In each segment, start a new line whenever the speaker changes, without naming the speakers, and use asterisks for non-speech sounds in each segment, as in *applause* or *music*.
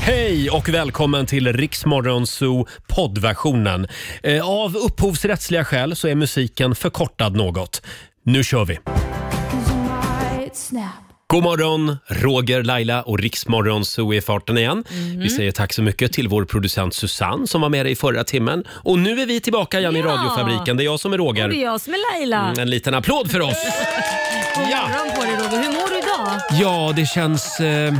Hej och välkommen till Riksmorgon Zoo poddversionen. Eh, Av upphovsrättsliga skäl så är musiken förkortad något. Nu kör vi! God morgon, Roger, Laila och Riksmorgon Zoo är i farten igen.
Mhm.
Vi säger tack så mycket till vår producent Susanne som var med i förra timmen. Och nu är vi tillbaka igen i
Ja.
radiofabriken. Det är jag som är Roger.
Och det är jag som är Laila.
Mm, En liten applåd för
*laughs*
oss!
God morgon på dig Roger. Hur mår du idag?
Ja, det känns, eh,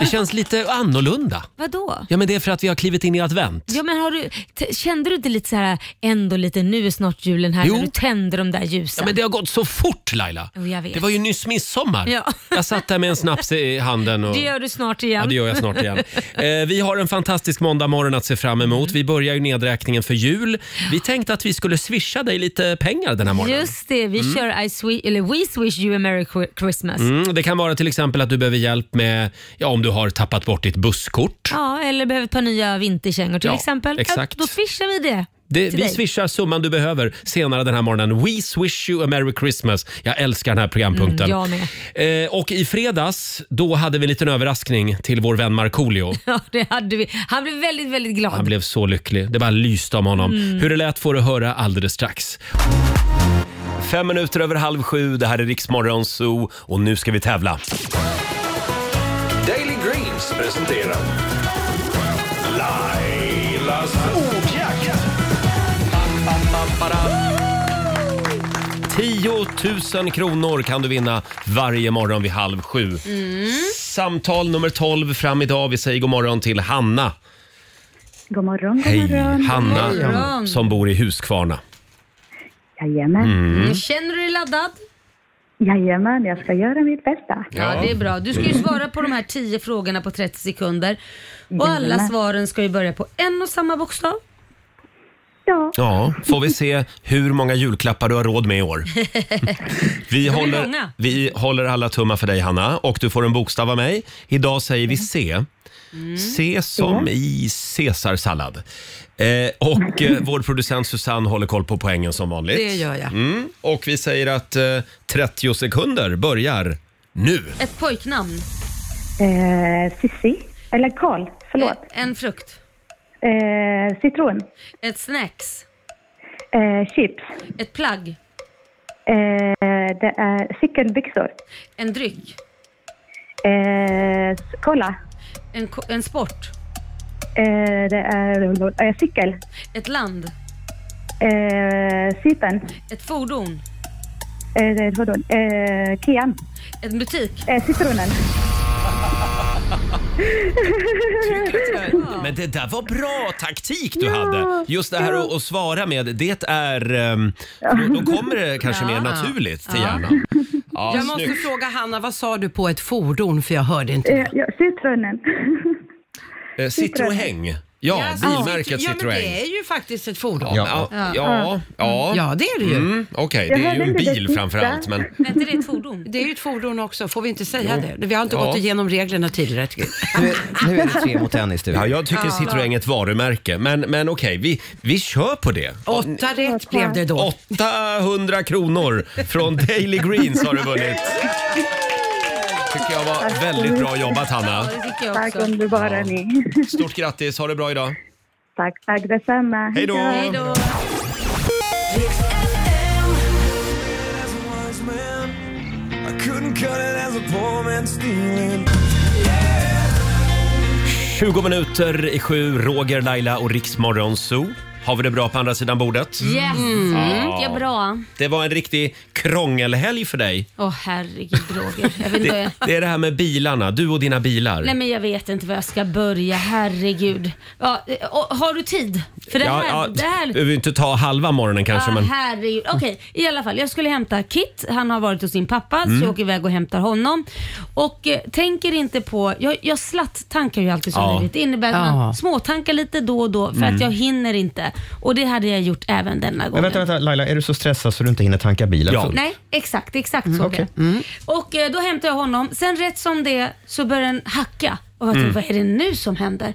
det känns lite annorlunda.
Vadå?
Ja, men det är för att vi har klivit in i advent.
Ja, men har du, t- kände du inte lite så här, ändå lite nu är snart julen här
Jo.
när du tände de där ljusen?
Ja, men det har gått så fort Laila.
Jo, jag vet.
Det var ju nyss midsommar.
Ja.
Jag satt där med en snaps i handen. Och...
Det gör du snart igen.
Ja, det gör jag snart
*laughs*
igen. Eh, vi har en fantastisk måndagmorgon att se fram emot. Vi börjar ju nedräkningen för jul. Vi tänkte att vi skulle swisha dig lite pengar den här morgonen.
Just det, vi kör I swi- eller We Swish You a Merry Qu- Christmas.
Mm, det kan vara till exempel att du behöver hjälp med ja, om du har tappat bort ditt busskort.
Ja, eller behöver ett par nya vinterkängor till
Ja,
exempel.
exakt.
Ja, då swishar vi det. *laughs*
Det,
till
vi
dig.
swishar summan du behöver senare den här morgonen. We swish you a merry Christmas. Jag älskar den här programpunkten.
Mm, jag
eh, och i fredags, då hade vi en liten överraskning till vår vän Markoolio.
Ja, det hade vi. Han blev väldigt, väldigt glad.
Han blev så lycklig. Det bara lyste om honom. Hur det lät får du höra alldeles strax. Fem minuter över halv sju, det här är Riksmorgon Zoo och nu ska vi tävla.
Daily Greens presenterar Lailas ordjakt.
10 000 kronor kan du vinna varje morgon vid halv sju. Samtal nummer 12 fram idag. Vi säger god morgon till Hanna.
God morgon, god
Hej,
morgon.
Hanna
morgon.
som bor i Huskvarna.
Jajamän.
Mm. Känner du dig laddad?
Jajamän, jag ska göra mitt bästa.
Ja, det är bra. Du ska ju svara på de här 10 frågorna på 30 sekunder. Och alla
Jajamän.
svaren ska ju börja på en och samma bokstav.
Ja,
Ja, får vi se hur många julklappar du har råd med i år.
*laughs*
Vi håller,
många.
vi håller alla tummar för dig Hanna och du får en bokstav av mig. Idag säger vi C. C
Mm.
som i caesarsallad. Eh, och eh, vår producent Susanne håller koll på poängen som vanligt.
Det gör jag.
Mm, och vi säger att eh, 30 sekunder börjar nu.
Ett pojknamn.
eh, Sissi. Eller Karl, förlåt.
Eh, En frukt.
Eh, citron.
Ett snacks.
Eh, chips.
Ett plagg.
Eh, det är cykelbyxor.
En dryck.
Eh, kolla.
En, ko- en sport.
Eh, det är eh, cykel.
Ett land.
Eh, Cypern.
Ett fordon.
Eh, det- vadå? Eh, Kian.
En butik.
Eh, citronen.
Men det där var bra taktik du hade. Just det här att, att svara med, det är... ehm, Då, då kommer det kanske mer naturligt till hjärnan. Ja,
Jag måste
snyggt.
fråga Hanna, vad sa du på ett fordon? För jag hörde inte.
Eh, ja, citronen.
Eh, Citroën. Ja, bilmärket
ja, men det
Citroën.
är ju faktiskt ett fordon.
Ja, ja, ja.
Ja, det är det ju.
Mm, Okej, det är
hörde
ju en
inte det
bil
sista.
framför allt. Men
Är inte det ett fordon?
Det är ju ett fordon också, får vi inte säga det? Vi har inte
Ja.
gått igenom reglerna tillräckligt.
Nu, nu är det tre mot en i
ja,
studion.
jag tycker Citroën är ett varumärke. Men, men okej, vi, vi kör på det.
Åtta rätt blev det då.
800 kronor från Daily Greens har du
*laughs*
vunnit. tycker jag var väldigt bra jobbat Hanna.
Ja, det tycker jag
Tack
också.
underbara ni.
Stort grattis, ha det bra idag.
Tack, tack detsamma.
Hej då!
Hej då.
Couldn't cut it as a poor man stealing.
20 minuter i sju, Roger, Laila och Riksmorgon Zoo. Har vi det bra på andra sidan bordet?
Yes, mm. det är bra.
Det var en riktig krångelhelg för dig.
Åh herregud Roger. Jag vet
Det,
inte.
det är det här med bilarna, du och dina bilar.
Nej men jag vet inte var jag ska börja, herregud. Ja, eh, och, har du tid? För det här, det här
du behöver ju inte ta halva morgonen kanske
Ah,
men...
herregud. Okej, i alla fall. Jag skulle hämta Kit. Han har varit hos sin pappa,
Mm.
så jag åker iväg och hämtar honom. Och eh, tänker inte på... Jag, jag slatt-tankar ju alltid som
Ja. Mm.
möjligt. Det innebär att
Ja.
man småtankar lite då och då för att jag hinner inte. Och det hade jag gjort även denna gången.
Men vänta, vänta, Laila, är du så stressad så du inte hinner tanka bilen?
Ja.
Så-
Nej,
Mm,
Mm. exakt. Exakt så blev det. Och eh, då hämtar jag honom. Sen rätt som det så börjar den hacka. Och jag tänkte, vad är det nu som händer?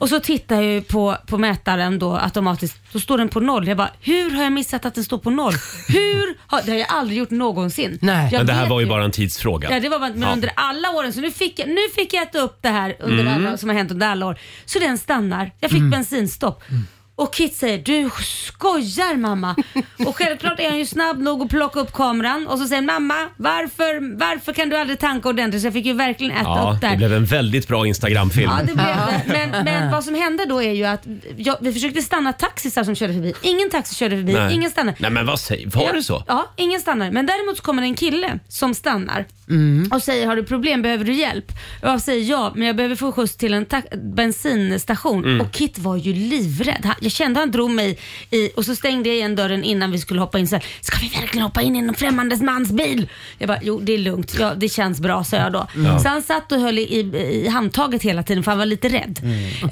Och så tittar jag ju på, på mätaren då automatiskt. Då står den på noll. Jag bara, hur har jag missat att den står på noll? Hur? Har, det har jag aldrig gjort någonsin.
Nej.
Jag
Men det här
vet
var ju bara en tidsfråga.
Ja, det var bara, men
Ja.
under alla åren. Så nu fick, jag, nu fick jag äta upp det här under
Mm.
alla, som har hänt under alla år. Så den stannar. Jag fick bensinstopp.
Mm.
Och Kit säger, du skojar mamma. Och självklart är han ju snabb nog att plocka upp kameran och så säger mamma, varför, varför kan du aldrig tanka ordentligt? Så jag fick ju verkligen äta
Ja,
upp det
det
här.
blev en väldigt bra Instagram-film.
Ja, det blev det. Men, men vad som hände då är ju att jag, vi försökte stanna taxisar som körde förbi. Ingen taxi körde förbi,
Nej.
ingen stannade.
Nej, men vad säger, var det så?
Ja, ingen stannar. Men däremot så kommer en kille som stannar och säger har du problem, behöver du hjälp? Och jag säger ja, men jag behöver få skjuts till en ta- bensinstation.
Mm.
Och Kit var ju livrädd. Han- Jag kände han drog mig i och så stängde jag igen dörren innan vi skulle hoppa in. Så här, Ska vi verkligen hoppa in i en främmande mans bil? Jag bara, jo det är lugnt, ja, det känns bra sa jag då. Så han satt och höll i, i, i handtaget hela tiden för han var lite rädd.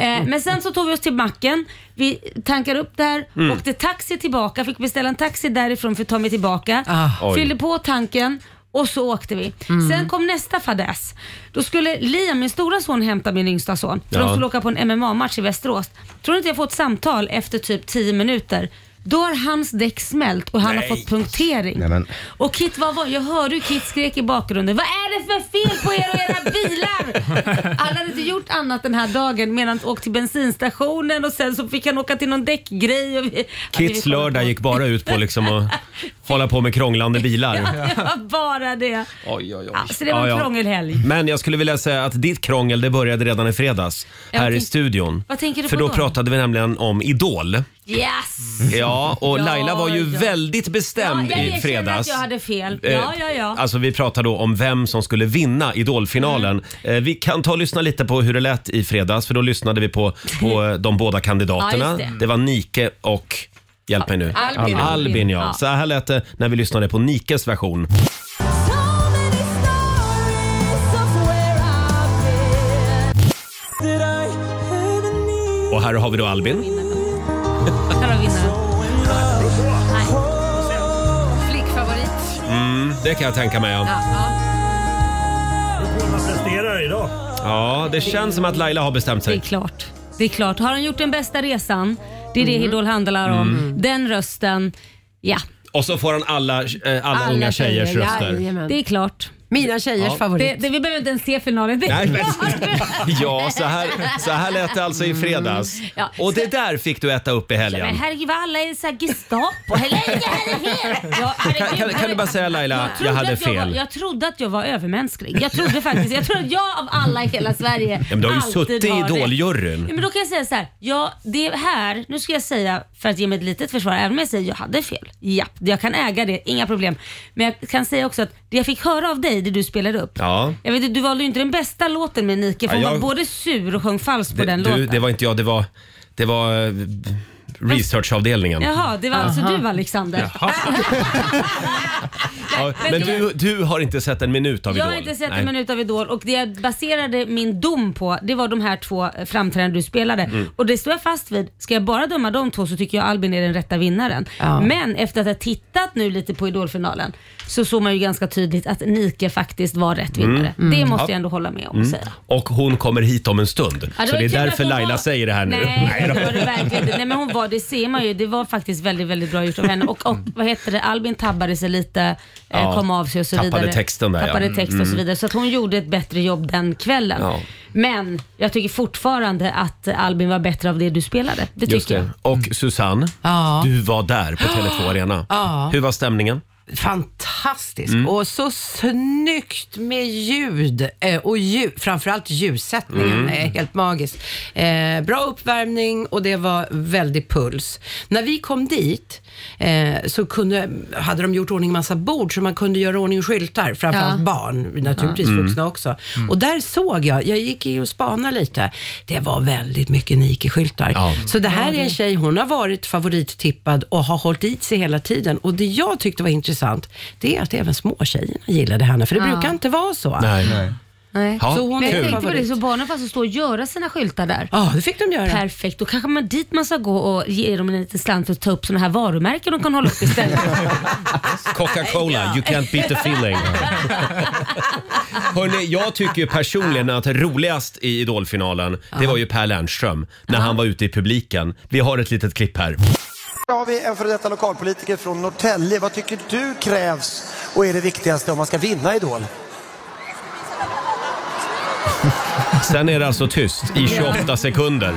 Eh, men sen så tog vi oss till macken, vi tankade upp där,
Mm.
åkte taxi tillbaka, fick beställa en taxi därifrån för att ta mig tillbaka.
Ah.
Oj. Mm.
Fyllde på tanken och så åkte vi. Sen kom nästa fadäs. Då skulle Liam, min stora son, hämta min yngsta son. För
Ja.
De skulle åka på en MMA-match i Västerås. Tror du inte jag får ett samtal efter typ 10 minuter? Då har hans däck smält och han har fått punktering.
Nej, men-
Och Kit, vad var Jag hörde hur Kit skrek i bakgrunden. Vad är det för fel på er och
*laughs*
era bilar? Han hade inte gjort annat den här dagen medan han åkte till bensinstationen och sen så fick han åka till någon däckgrej. Och vi, Ja, det vi
Kits
kommer
lördag
på.
gick bara ut på liksom
*laughs*
att hålla på med krånglande bilar.
Det var bara det.
Oj, oj, oj.
Ja, så det var en
Ja, ja.
krångelhelg.
Men jag skulle vilja säga att ditt krångel det började redan i fredags
Jag
här i
tänk-
studion.
Vad tänker du
För
på
då
då?
pratade vi nämligen om Idol.
Yes!
Ja, och
Ja,
Laila var ju
ja.
väldigt
Ja,
bestämd
jag
i
erkänner att
fredags.
jag hade fel.
Eh,
Ja, ja, ja.
Alltså vi pratade då om vem som skulle vinna Idolfinalen.
Mm.
Eh, Vi kan ta och lyssna lite på hur det lät i fredags för då lyssnade vi på, på
*laughs*
eh, de båda kandidaterna.
Ja, just
det.
det.
var Nike och Hjälp mig nu.
Albin.
Albin ja.
Ja.
Så här lät det när vi lyssnade på Nikes version. Och här har vi då Albin.
Här har vinnaren.
Flickfavorit.
Mm, Det kan jag tänka mig. Ja.
Man presterar idag.
ja, det känns som att Laila har bestämt
Det är
sig.
klart. Det är klart. Har han gjort den bästa resan? Det är det
Mhm.
Idol handlar om.
Mm.
Den rösten. Ja,
Och så får han alla, eh, alla,
Alla
unga tjejers
tjejer,
*laughs*
röster.
jajamän.
det är klart.
Mina tjejers favorit.
Det, det, vi behöver inte ens se finalen. Det *laughs*
Nej, men, ja, så här, så här lät det alltså i fredags.
Mm. Ja.
Och det där fick du äta upp i
Men
helgen.
herregud vad alla är såhär Gestapo. Herregud, jag hade fel. Ja, herregud,
Kan, kan, kan du bara säga Laila, jag
trodde
hade
att var,
fel.
jag trodde att jag var övermänsklig. Jag trodde faktiskt, jag trodde att jag av alla i hela Sverige
Ja, men du har ju
alltid
suttit i
har det. Ja,
Idoljuryn.
Men då kan jag säga så här, ja det här, nu ska jag säga för att ge mig ett litet försvar, även om jag säger jag hade fel. Ja, jag kan äga det, inga problem. Men jag kan säga också att det jag fick höra av dig, det du spelade upp.
Ja.
Jag vet, inte, du valde ju inte den bästa låten med Nike för
Ja,
hon
jag-
var både sur och sjöng falskt på
Det,
den
du,
låten.
det var inte jag, det var, det var eh, researchavdelningen.
Jaha, det var alltså du Alexander. *laughs*
Ja, men
men
du, du har inte sett en minut av
Jag
Idol?
har inte sett
Nej.
en minut av Idol och det jag baserade min dom på det var de här två eh, framträdanden du spelade.
Mm.
Och det står jag fast vid. Ska jag bara döma de två så tycker jag Albin är den rätta vinnaren.
Ja.
Men efter att ha tittat nu lite på Idolfinalen så såg man ju ganska tydligt att Nike faktiskt var rätt vinnare. Mm. Det måste jag ändå hålla med om och säga.
Mm. Och hon kommer hit om en stund.
Ja,
så
var
det är
kul att
därför
hon
Laila
var-
säger det här Äh, nu. *laughs*
Nej, det var det verkligen inte. Nej, men hon var, det ser man ju. Det var faktiskt väldigt, väldigt bra gjort av henne. Och, och vad heter det, Albin tabbade sig lite,
Ja,
eh, kom av sig och så
tappade
vidare.
texten där, ja. Mm.
Tappade text och så vidare. Så att hon gjorde ett bättre jobb den kvällen.
Ja.
Men jag tycker fortfarande att Albin var bättre av det du spelade. Det
Just
tycker Mm.
det. Och Susanne,
Ja.
du var där
*gasps*
på Tele2 Arena.
Ja.
Hur var stämningen?
Fantastisk och så snyggt med ljud eh, och ljud, framförallt ljussättningen är helt magisk. Eh, bra uppvärmning och det var väldigt puls. När vi kom dit eh, så kunde, hade de gjort ordning massa bord så man kunde göra ordning skyltar, framförallt
Ja.
barn, naturligtvis vuxna också. Och där såg jag, jag gick in och spanade lite, det var väldigt mycket Nike-skyltar.
Ja.
Så det här är en tjej, hon har varit favorittippad och har hållit i sig hela tiden. Och det jag tyckte var intressant, det är att även småtjejerna gillade henne, för det brukar inte vara så.
Nej.
Nej.
Ja,
Så hon
Men
är
jag
kul.
tänkte på det, så barnen får alltså stå och göra sina skyltar där.
Ja, det fick de göra.
Perfekt, då kanske man dit man ska gå och ge dem en liten slant för att ta upp sådana här varumärken de kan hålla upp istället.
*laughs* Coca-Cola, you can't beat the
*laughs*
feeling. Hörrni, jag tycker ju personligen att roligast i Idolfinalen, det var ju Per Lernström när han var ute i publiken. Vi har ett litet klipp här.
Här har vi en före detta lokalpolitiker från Norrtälje. Vad tycker du krävs och är det viktigaste om man ska vinna Idol?
Sen är det alltså tyst i 28 sekunder.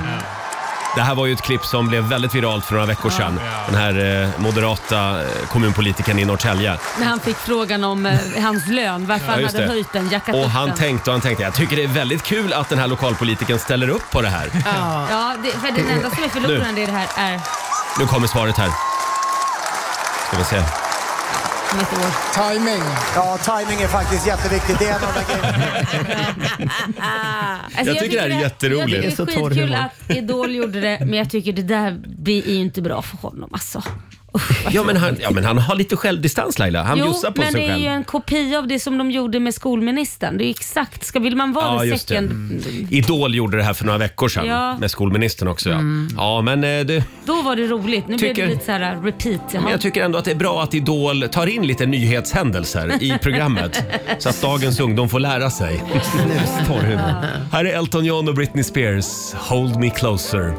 Det här var ju ett klipp som blev väldigt viralt för några veckor sedan. Den här eh, moderata eh, kommunpolitikern i Norrtälje.
När han fick frågan om eh, hans lön, varför han
just
hade
det.
höjt den, jackat
Och
upp
han
den.
tänkte och han tänkte, jag tycker det är väldigt kul att den här lokalpolitiken ställer upp på det här.
Ja, det, för den enda som är förloraren i det här Äh. är
Nu kommer svaret här. Ska vi se.
om ett år.
Timing. Ja, timing är faktiskt jätteviktigt. Det är en av de grejerna.
Alltså,
Jag tycker det här är jätteroligt.
Jag tycker
Det Ah. är
det
så
är
torr
skitkul
humor.
att Idol gjorde det, men jag tycker det där blir ju inte bra för honom alltså.
Ja men, han, ja men han har lite självdistans Laila. Han
jo,
bjussar på
men
sig
det är
själv.
ju en kopia av det som de gjorde med skolministern. Det är ju exakt, ska, vill man vara
Ja,
ja,
just det. Mm.
second,
Idol gjorde det här för några veckor sedan
Ja. Mm.
med skolministern också. Ja, ja men eh, det,
då var det roligt. Nu blev
Tycker-
det lite så här uh, repeat.
men
Jaha.
jag tycker ändå att det är bra att Idol tar in lite nyhetshändelser i programmet så att dagens ungdom får lära sig.
Torr humor.
Här är Elton John och Britney Spears, Hold Me Closer.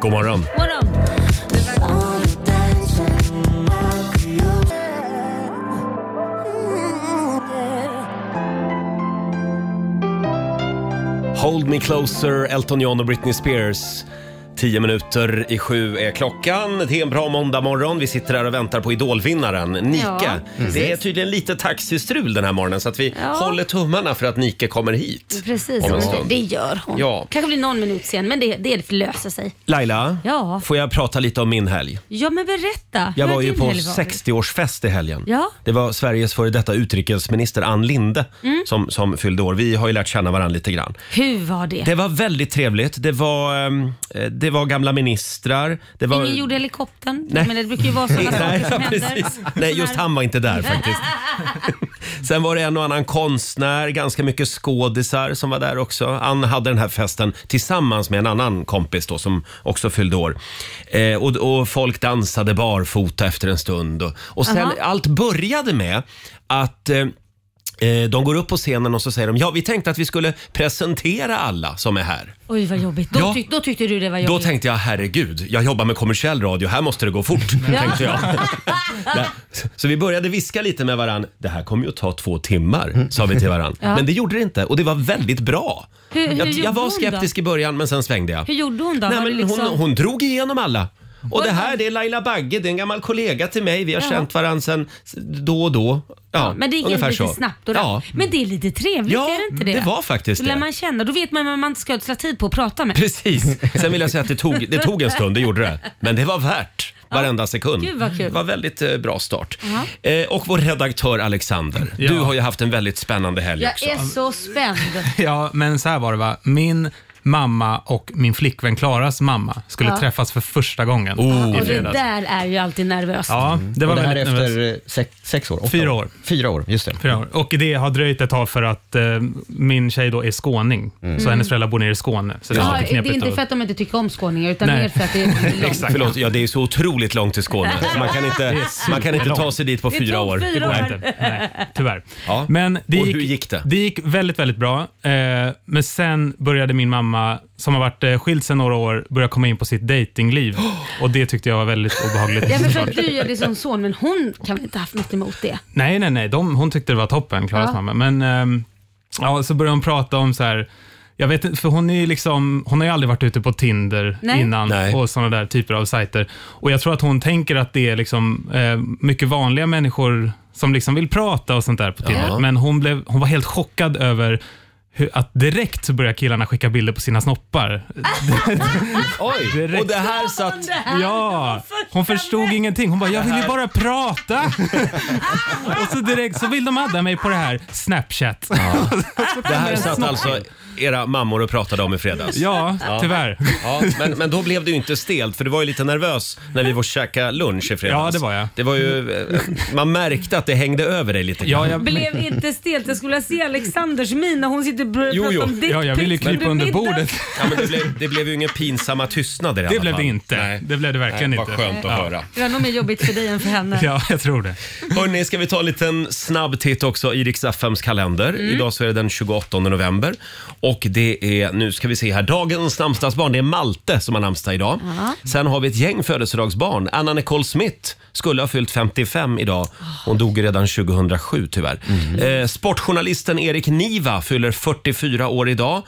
God morgon.
Vadå?
Hold Me Closer, Elton John och Britney Spears. Tio minuter i sju är klockan. Det är en bra måndagmorgon. Vi sitter här och väntar på idolvinnaren, Nike.
Ja,
det är tydligen lite taxistrul den här morgonen så att vi
Ja.
håller tummarna för att Nike kommer hit. Om
Precis,
en
men
stund.
det gör hon.
Ja.
Kanske blir någon minut sen, men det, det löser sig.
Laila,
Ja.
får jag prata lite om min helg?
Ja, men berätta.
Jag var
Hur har
ju
din
på
helg varit?
60-årsfest i helgen.
Ja.
Det var Sveriges före detta utrikesminister Ann Linde som, som fyllde år. Vi har ju lärt känna varandra lite grann.
Hur var det?
Det var väldigt trevligt. Det var, ehm, eh, det var gamla ministrar. Det var,
Ingen gjorde helikoptern.
Nej.
Men det brukar ju vara sådana saker
*laughs* Nej,
som händer.
precis. Nej, just han var inte
*laughs*
där faktiskt. Sen var det en och annan konstnär, ganska mycket skådisar som var där också. Ann hade den här festen tillsammans med en annan kompis då som också fyllde år. Eh, och, och folk dansade barfota efter en stund. Och, och sen,
Aha.
allt började med att eh, eh, de går upp på scenen och så säger de ja, vi tänkte att vi skulle presentera alla som är här.
Oj vad jobbigt. Då,
Ja.
tyck, då tyckte du det var
Då
jobbigt.
tänkte jag, herregud, jag jobbar med kommersiell radio, här måste det gå *laughs* fort. tänkte jag. Där. Så vi började viska lite med varann. Det här kommer ju att ta två timmar, sa vi till varann. Men det gjorde det inte och det var väldigt bra.
Hur- hur
jag,
gjorde
jag
hon
var
då?
skeptisk i början men sen svängde jag.
*laughs* Hur gjorde hon då?
Nej,
Var
men
det liksom-
hon, hon drog igenom alla. Och det här det är Laila Bagge, det är en gammal kollega till mig. Vi har
Ja.
känt varandra sen då och då. Ja,
men det gick
ungefär
lite
så.
snabbt och
ja.
rappt. Men det är lite trevligt,
Ja,
är det inte det?
det var faktiskt
Då lär
det.
man känna. Då vet man vem man ska ödsla tid på att prata
*laughs*
med.
Precis. Sen vill jag säga att det tog, det
*laughs*
tog en stund, det gjorde det. Men det var värt varenda sekund.
Gud, vad kul.
Det var väldigt eh, bra start. Eh, och vår redaktör Alexander, du har ju haft en väldigt spännande helg
Jag
också.
är så spänd.
Ja, men så här var det va. Min mamma och min flickvän Klaras mamma skulle träffas för första gången
Oh.
i
Och det
fredags.
där är ju alltid nervöst.
Ja, det var
Och det här
väldigt nervöst.
efter eh, sex, sex år? åtta
Fyra år.
Fyra år, just det.
Fyra år. Och det har dröjt ett tag för att eh, min tjej då är skåning,
Mm.
så hennes föräldrar bor nere i Skåne. Så det
Ja,
var lite
det är
knepigt.
inte
att-
för att de inte tycker om skåningar utan
Nej.
mer för att det är långt.
*laughs* Exakt.
Förlåt, ja, det är så otroligt långt till Skåne.
*laughs*
Så Man kan inte, man kan inte ta sig dit på
Det
fyra
tog
år.
fyra
går
år.
inte. Nej, tyvärr.
Ja.
Men det
Och
gick,
hur gick det?
Det gick väldigt, väldigt bra. Eh, men sen började min mamma, som har varit eh, skild sedan några år, börja komma in på sitt
*gasps*
datingliv. Och det tyckte jag var väldigt obehagligt.
Jag förstår att du gör det som son, men hon kan väl inte ha haft något emot det?
Nej, nej, nej. De, hon tyckte det var toppen, Klaras
Ja.
mamma. Men ehm, ja, så började hon prata om så här, jag vet inte, för hon, är ju liksom, hon har ju aldrig varit ute på Tinder
Nej.
innan
Nej.
och sådana där typer av sajter. Och jag tror att hon tänker att det är liksom, eh, mycket vanliga människor som liksom vill prata och sånt där på Tinder.
Ja.
Men hon, blev, hon var helt chockad över hur, att direkt så börjar killarna skicka bilder på sina snoppar.
*laughs* Oj, och det här satt... *laughs*
Ja, hon förstod ingenting. Hon bara, jag vill ju bara prata.
*laughs*
*laughs* och så direkt så vill de adda mig på det här Snapchat. *laughs*
Det här satt alltså era mammor och pratade om i fredags.
ja, tyvärr.
Ja, men, men då blev det ju inte stelt för du var ju lite nervös när vi var och käkade lunch i fredags.
Ja, det var jag.
Det var ju, eh, man märkte att det hängde över dig lite grann.
Ja, jag,
Blev inte stelt. Jag skulle vilja se Alexanders min när hon sitter försökte börja
Jo,
prata
jo.
om dickpics
Ja, jag ville krypa under
middagen.
bordet.
Ja, men det, blev, det blev ju inga pinsamma tystnader i alla
Det blev
fall.
det inte.
Nej.
Det blev det verkligen
Nej,
inte.
Vad skönt
Ja.
att höra.
Det var nog mer jobbigt för dig än för henne.
Ja, jag tror det.
Hörni, ska vi ta en liten snabb titt också i Rix FMs kalender. Idag så är det den 28 november. Och det är, nu ska vi se här, dagens namnsdagsbarn, det är Malte som har namnsdag idag. Sen har vi ett gäng födelsedagsbarn. Anna Nicole Smith skulle ha fyllt 55 idag. Hon dog ju redan 2007 tyvärr. Eh, sportjournalisten Erik Niva fyller 44 år idag.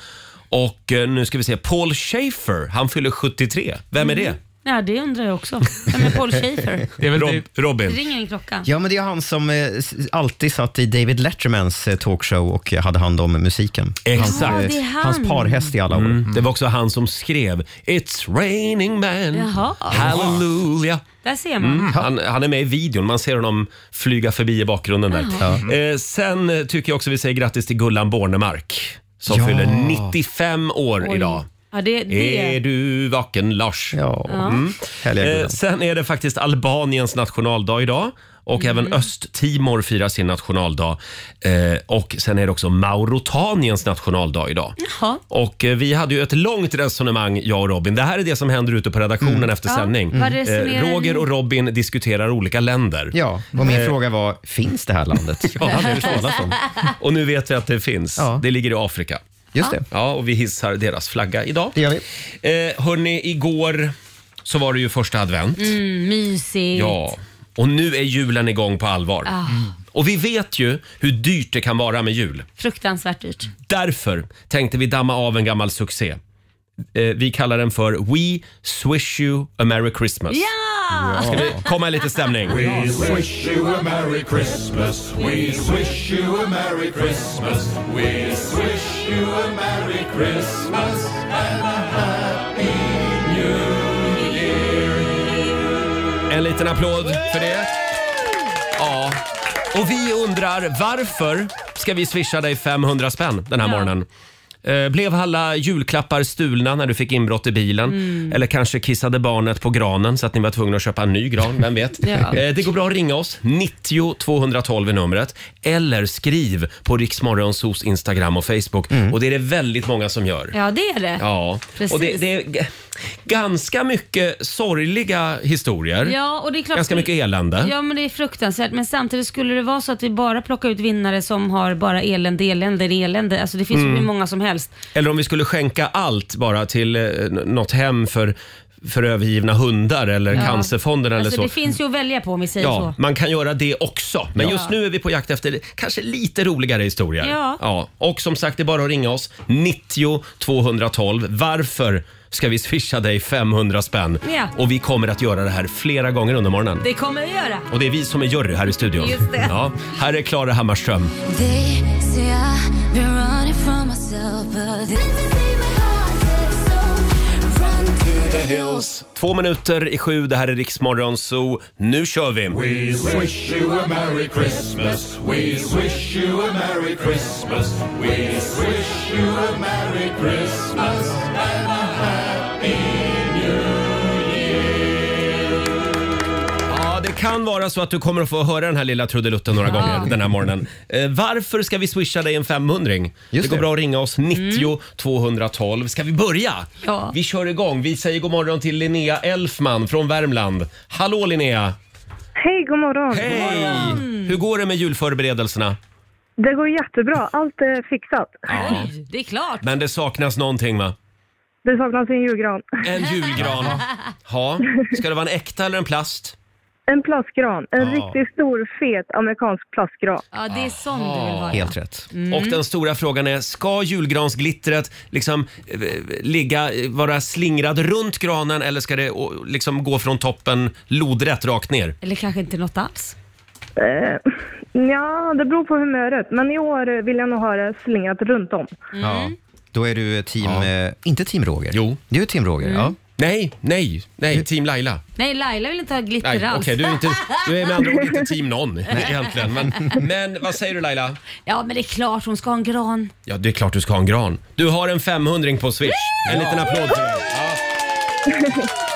Och eh, nu ska vi se, Paul Schaefer, han fyller 73. Vem är
Mm.
det?
Ja, det undrar jag också. Vem är Paul Schaefer?
Det är väl
Rob-
det.
Robin.
Ringer en klocka?
Ja, men det är han som eh, s- alltid satt i David Lettermans eh, talkshow och hade hand om musiken.
Exakt.
Ja, det är
Eh,
han.
Hans parhäst i alla år.
Det var också han som skrev “It's raining man,
Jaha.
hallelujah”. Mm.
Där ser man.
Mm.
Han, han är med i videon, man ser honom flyga förbi i bakgrunden där.
Mm.
Eh, sen tycker jag också vi säger grattis till Gullan Bornemark som
Ja.
fyller 95 år
Oj.
idag.
Ja, det,
Är
det.
du vaken Lars?
Ja, härliga
Eh,
gubben.
sen är det faktiskt Albaniens nationaldag idag. Och
Mm.
även Östtimor firar sin nationaldag. Eh, och sen är det också Mauretaniens nationaldag idag.
Jaha.
Och eh, vi hade ju ett långt resonemang, jag och Robin. Det här är det som händer ute på redaktionen efter
Mm. Ja,
sändning. Eh,
vad resonerar ni?
Roger och Robin diskuterar olika länder. Eh,
Ja, och min fråga var, finns det här
*laughs*
landet? ja, det talas
*laughs*
om.
Och nu vet vi att det finns.
Ja.
Det ligger i Afrika.
Just det.
Ja, och vi hissar deras flagga idag.
Det gör vi.
Eh, hörni, igår så var det ju första advent.
Mm, mysigt.
Ja, och nu är julen igång på allvar.
Ah,
Och vi vet ju hur dyrt det kan vara med jul.
fruktansvärt dyrt.
Mm. Därför tänkte vi damma av en gammal succé. Eh, vi kallar den för We Swish You A Merry Christmas.
Ja!
Ska vi komma i lite stämning?
Wish you a Merry Christmas. We wish you a Merry Christmas. We wish you a Merry Christmas.
En liten applåd för det. Ja. Och vi undrar varför ska vi swisha dig 500 spänn den här morgonen? Eh, Blev alla julklappar stulna när du fick inbrott i bilen?
Mm.
Eller kanske kissade barnet på granen så att ni var tvungna att köpa en ny gran? Vem vet?
*laughs* Ja.
Eh, Det går bra att ringa oss. 90 212 är numret. Eller skriv på Riksmorgonsos Instagram och Facebook. Och det är det väldigt många som gör.
Mm. Ja, det är det.
Ja,
Precis.
och det, det är g- ganska mycket sorgliga historier.
Ja, och det är klart
Ganska mycket elände.
Ja, men det är fruktansvärt. Men samtidigt skulle det vara så att vi bara plockar ut vinnare som har bara elände, elände, elände. Alltså det finns ju
Mm.
hur många som helst.
Eller om vi skulle skänka allt bara till eh, n- något hem för, för övergivna hundar eller Cancerfonden eller
Alltså
så.
det finns ju att välja på om vi säger
Ja,
så.
man kan göra det också. Men just nu är vi på jakt efter kanske lite roligare historier.
Ja.
Och som sagt, det är bara att ringa oss. 90 212. Varför ska vi swisha dig 500 spänn?
Ja.
Och vi kommer att göra det här flera gånger under morgonen.
Det kommer vi göra.
Och det är vi som är jury här i studion.
Just det.
Ja, här är Klara Hammarström.
They say I've been running from myself, but this is in my heart, so run to the hills.
Två minuter i sju, det här är Riksmorgon Zoo. Nu kör vi!
We wish you a Merry Christmas. We wish you a Merry Christmas. We wish you a Merry Christmas and a Happy New Year.
Ja, det kan vara så att du kommer att få höra den här lilla trudelutten några gånger den här morgonen. Eh, varför ska vi swisha dig en 500 Det
Just
går
det.
bra att ringa oss, 90 212. Ska vi börja?
Mm. Ja.
Vi kör igång. Vi säger god morgon till Linnea Elfman från Värmland. Hallå Linnea!
Hej, god morgon.
Hej!
Mm.
Hur går det med julförberedelserna?
Det går jättebra. Allt är fixat.
Oj, det är klart.
Men det saknas någonting va?
Det saknas en julgran.
En julgran. Ja. Ska det vara en äkta eller en plast?
En plastgran. En
Ja.
riktigt stor, fet amerikansk plastgran.
Ja, det Mm. är sån du vill vara.
Helt rätt.
Och den stora frågan är, ska julgransglittret liksom eh, ligga, eh, vara slingrad runt granen eller ska det å, liksom gå från toppen lodrätt rakt ner?
Eller kanske inte något alls.
Eh, Ja, det beror på humöret. Men i år vill jag nog ha det slingat runt om.
Mm.
Mm.
Ja. Då är du team,
Ja.
eh, inte team Roger.
Jo.
Du är team Roger,
Mm.
ja.
Nej, nej, nej, team Laila.
Nej, Laila vill inte ha glitter
Nej, okej,
alls.
du, är inte, du är med andra ord inte team
*laughs*
någon *laughs* egentligen. Men, men vad säger du Laila?
Ja, men det är klart hon ska ha en gran.
Ja, det är klart du ska ha en gran. Du har en 500 på Swish. En liten applåd till dig. Ja.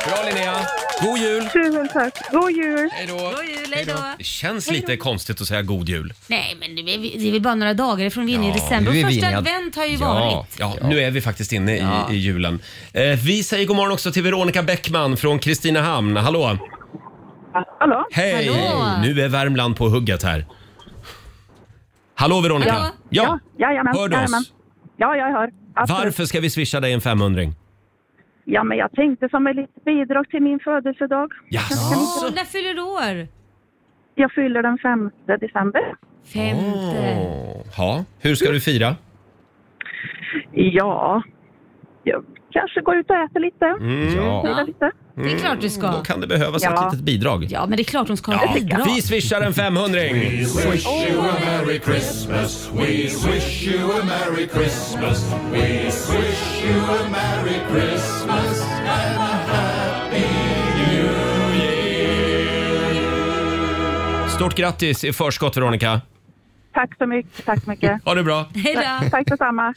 Bra Linnea! God jul!
Tusen tack. God jul.
Hej då.
God jul, hej då.
Det känns lite konstigt att säga god jul.
Nej, men det är, det är väl bara några dagar ifrån vi är inne i
Ja,
december.
nu är
Och
vi
första
inne i ad-
advent har ju varit.
Ja, nu är vi faktiskt inne i, i julen. Eh, vi säger god morgon också till Veronica Bäckman från Kristinehamn. Hallå!
Hallå?
Hej!
Hallå.
Nu är Värmland på hugget här. Hallå Veronica!
Hallå? Ja, jajamän.
Hör du oss?
jajamän. Ja, jag hör. Absolut.
Varför ska vi swisha dig en femhundring?
Ja, men jag tänkte som ett litet bidrag till min födelsedag.
Åh, när fyller du år?
Jag fyller den 5 december.
Femte.
Ja, hur ska du fira?
Ja, jag kanske går ut och äter lite.
Mm. Ja.
Firar Lite.
Mm,
Det är klart du ska.
Då kan det behövas ett
Ja.
litet bidrag.
Ja, men det är klart de ska ha
Ja,
ett bidrag.
Vi swishar en femhundring!
Wish you a Merry Christmas. We wish you a Merry Christmas. We wish you a Merry Christmas and a Happy New Year.
Stort grattis i förskott Veronica!
Tack så mycket. Tack
*laughs*
så mycket.
Ha det bra!
Tack- Tack detsamma.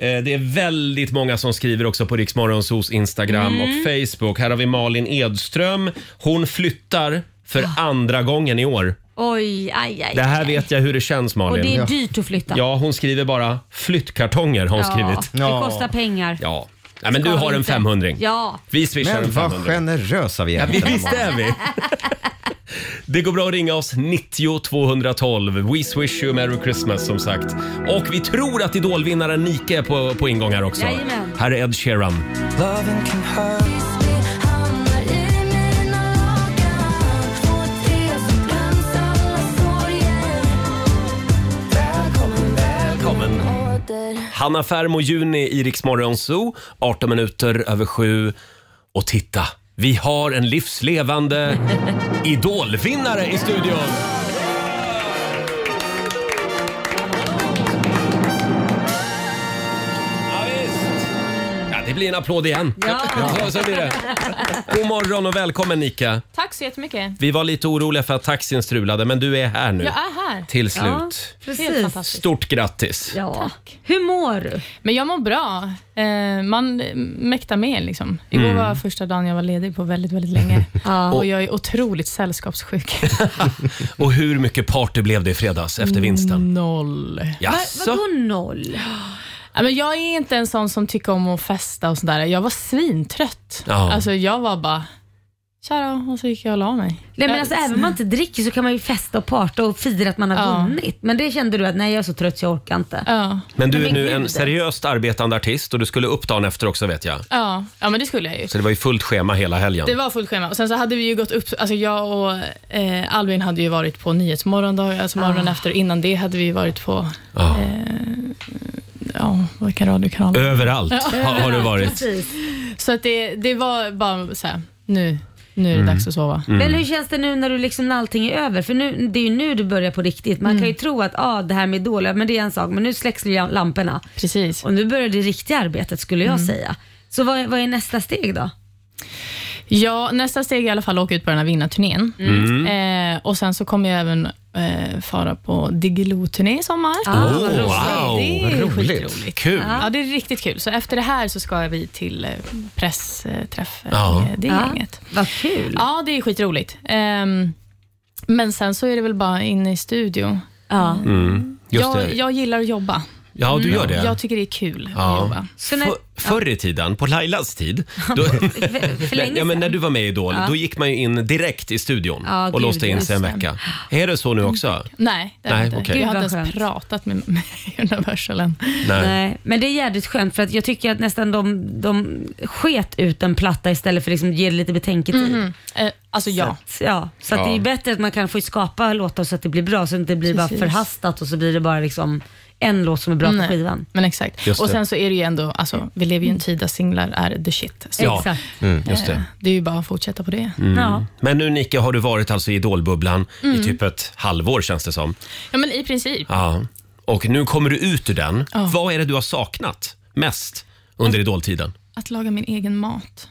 Eh, Det är väldigt många som skriver också på Riksmorgonsos Instagram
Mm.
och Facebook. Här har vi Malin Edström. Hon flyttar för
Ah.
andra gången i år.
Oj, aj, aj.
Det här vet jag hur det känns
Och
Malin.
det är dyrt att flytta.
Ja, hon skriver bara flyttkartonger har hon skrivit.
Det kostar pengar.
Ja. Nej, men du har en
inte.
500
Ja.
Vi swishar
Men
en
vad
500. generösa vi är. Ja, vi, visst är
*laughs*
vi. Det går bra att ringa oss 90 212. We swish you a merry Christmas som sagt. Och vi tror att idolvinnaren Nike är på, på ingång här också.
Jajamän.
Här är Ed Sheeran. Välkommen. Hanna Fermo Juni i Rix Morgon Zoo, 18 minuter över sju. Och titta, vi har en livslevande idolvinnare i studion. Ja, visst. Ja, det blir en applåd igen.
Ja.
Ja, så blir det. God morgon och välkommen Nika.
Tack så jättemycket.
Vi var lite oroliga för att taxin strulade, men du är här nu.
Jag är här.
Till slut.
Ja, precis. Helt fantastiskt.
Stort grattis.
Ja. Hur mår du?
Men jag mår bra. Eh, man eh, mäktar med. Liksom. Igår
Mm.
var första dagen jag var ledig på väldigt, väldigt
*laughs*
länge. Och
Och-
jag är otroligt sällskapssjuk.
Och hur mycket party blev det i fredags efter vinsten?
Noll.
*laughs* Jaså?
noll?
Ja, men jag är inte en sån som tycker om att festa och sådär. Jag var svintrött.
Ja.
Alltså, jag var bara, tja då, och så gick jag och la mig.
Nej, men alltså, även om man inte dricker så kan man ju festa och parta och fira att man har
Ja.
vunnit. Men det kände du att nej jag är så trött så jag orkar inte.
Ja.
Men du är nu en
gud.
seriöst arbetande artist och du skulle upp dagen efter också vet jag.
Ja, ja, men det skulle jag ju.
Så det var ju fullt schema hela helgen.
Det var fullt schema. Och sen så hade vi ju gått upp, alltså jag och eh, Albin hade ju varit på Nyhetsmorgon då, alltså morgonen efter. Innan det hade vi varit på,
Ja.
eh, ja, vilka radiokanaler?
Överallt
Ja.
har, har du varit.
Så att det, det var bara så här, nu, nu är det
Mm.
dags att sova.
Mm.
Men hur känns det nu när du liksom, när allting är över? För nu, det är ju nu du börjar på riktigt. Man
Mm.
kan ju tro att ah, det här med Idol, ja, men det är en sak, men nu släcks ju lam- lamporna.
Precis.
Och nu börjar det riktiga arbetet skulle jag
Mm.
säga. Så vad, vad är nästa steg då?
Ja, nästa steg är i alla fall att åka ut på den här vinnarturnén.
Mm.
Eh, och sen så kommer jag även eh, fara på Diggiloo-turné i sommar.
Ah, vad roligt. wow,
Det är
roligt.
skitroligt.
Kul.
Ja, det är riktigt kul. Så efter det här så ska vi till eh, pressträff eh,
Ja.
med det
Ja,
gänget.
Vad kul.
Ja, det är skitroligt. Ehm, men sen så är det väl bara inne i studio.
Ja.
Mm. Just
Jag,
det.
jag gillar att jobba.
Ja, du gör
Mm.
det.
Jag tycker det är kul att
Ja.
jobba.
För, förr i tiden, på Lailas tid, då,
*laughs* för länge
ja, men när du var med i Idol,
Ja.
då gick man ju in direkt i studion
Ja,
och
gud,
låste in sig en
just det.
vecka. Är det så nu också?
Nej, det har jag
Nej,
inte.
okej.
Jag har
Gud,
inte
vad
ens pratat med, *laughs* med Universal än.
Nej.
Nej, men det är jävligt skönt för att jag tycker att nästan de, de sket ut en platta istället för att liksom ge det lite betänketid.
Mhm. Eh, alltså
Så
ja.
att, ja. så att
Ja.
det är bättre att man kan få skapa låtar så att det blir bra, så att det inte blir bara
Precis.
förhastat och så blir det bara liksom en låt som är bra
Nej,
på skivan.
Men exakt.
Just
Och
det.
sen så är det ju ändå, alltså, vi lever ju i en tid där singlar är the shit. Så
Ja, mm, just
eh,
det.
det är ju bara att fortsätta på det.
Mm.
Ja.
Men nu Nicke har du varit alltså i Idolbubblan i
Mm.
typ ett halvår känns det som.
ja, men i princip.
Ja. Och nu kommer du ut ur den.
Ja.
Vad är det du har saknat mest under Idoltiden?
*laughs* Att laga min egen mat.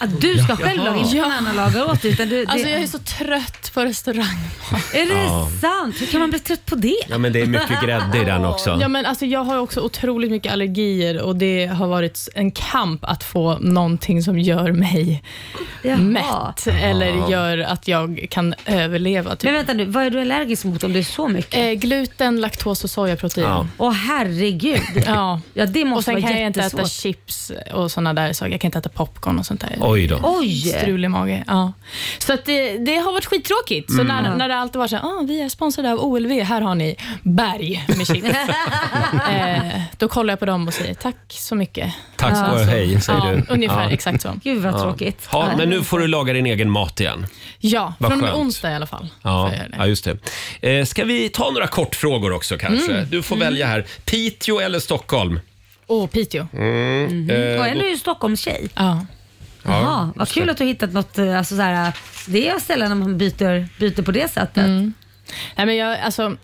Att du ska
Ja.
själv laga, inte
Ja.
någon annan lagar åt dig. Utan du, det...
Alltså jag är så trött på restaurangmat.
Är det
Ja.
sant? Hur kan man bli trött på det?
Ja, men det är mycket grädde i den också.
Ja, men alltså, jag har också otroligt mycket allergier och det har varit en kamp att få någonting som gör mig mätt eller
Ja.
gör att jag kan överleva. Typ.
Men vänta nu, vad är du allergisk mot om det är så mycket?
Eh, gluten, laktos och sojaprotein.
Ja. Åh herregud.
Ja.
ja, det måste
och sen
vara
kan jag inte äta
jättesvårt.
chips och sådana där saker. Jag kan inte äta popcorn och sånt där.
Oj då.
Oj.
Strulig mage. Ja. Så att det, det har varit skittråkigt. Så
Mm.
när, när det alltid var så här, ah, vi är sponsrade av OLV, här har ni berg med
*laughs*
chips. eh, då kollar jag på dem och säger tack så mycket.
Tack
Ja.
och hej, säger
ja,
du.
Ungefär,
Ja.
exakt så.
Gud
Ja. Ja, men nu får du laga din egen mat igen.
Ja,
Vad
från och med
skönt.
onsdag i alla fall.
Ja,
får jag göra det.
ja just det. Eh, ska vi ta några kortfrågor också kanske?
Mm.
Du får
Mm.
välja här. Piteå eller Stockholm?
Och Piteå.
Mm.
Mm-hmm.
eh,
Mm-hmm. och
då-
ändå är ju Stockholmstjej.
Ja.
Ja,
Jaha, vad kul att du har hittat något, eh, alltså så här, eh, det är ställen när man byter, byter på det sättet.
Mm. Nej, men jag, alltså,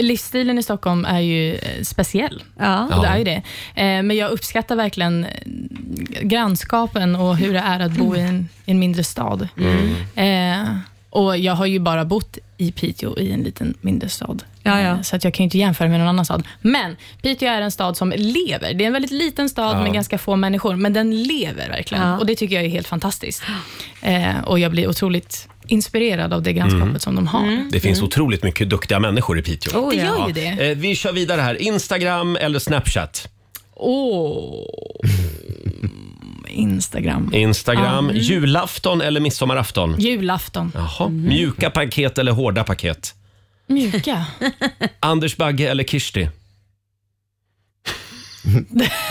livsstilen i Stockholm är ju eh, speciell.
Ja.
Och det är ju det. Eh, Men jag uppskattar verkligen eh, grannskapen och hur det är att bo i en, i en mindre stad.
Mm.
Eh, Och Jag har ju bara bott i Piteå i en liten mindre stad.
Ja, ja.
Eh, Så att jag kan ju inte jämföra med någon annan stad. Men Piteå är en stad som lever. Det är en väldigt liten stad
Ja.
med ganska få människor, men den lever verkligen.
Ja.
Och Det tycker jag är helt fantastiskt. Eh, Och Jag blir otroligt inspirerad av det grannskapet
Mm.
som de har.
Det finns
Mm.
otroligt mycket duktiga människor i Piteå.
Oh, ja. Det gör ju
Ja.
det.
Eh, Vi kör vidare här. Instagram eller Snapchat?
Åh. Instagram.
Instagram.
Ja. Mm.
Julafton eller midsommarafton?
Julafton. Mhm.
Jaha.
Mm.
Mjuka paket eller hårda
*laughs*
paket? *laughs*
Mjuka.
Anders Bagge eller Kirsti?
*laughs*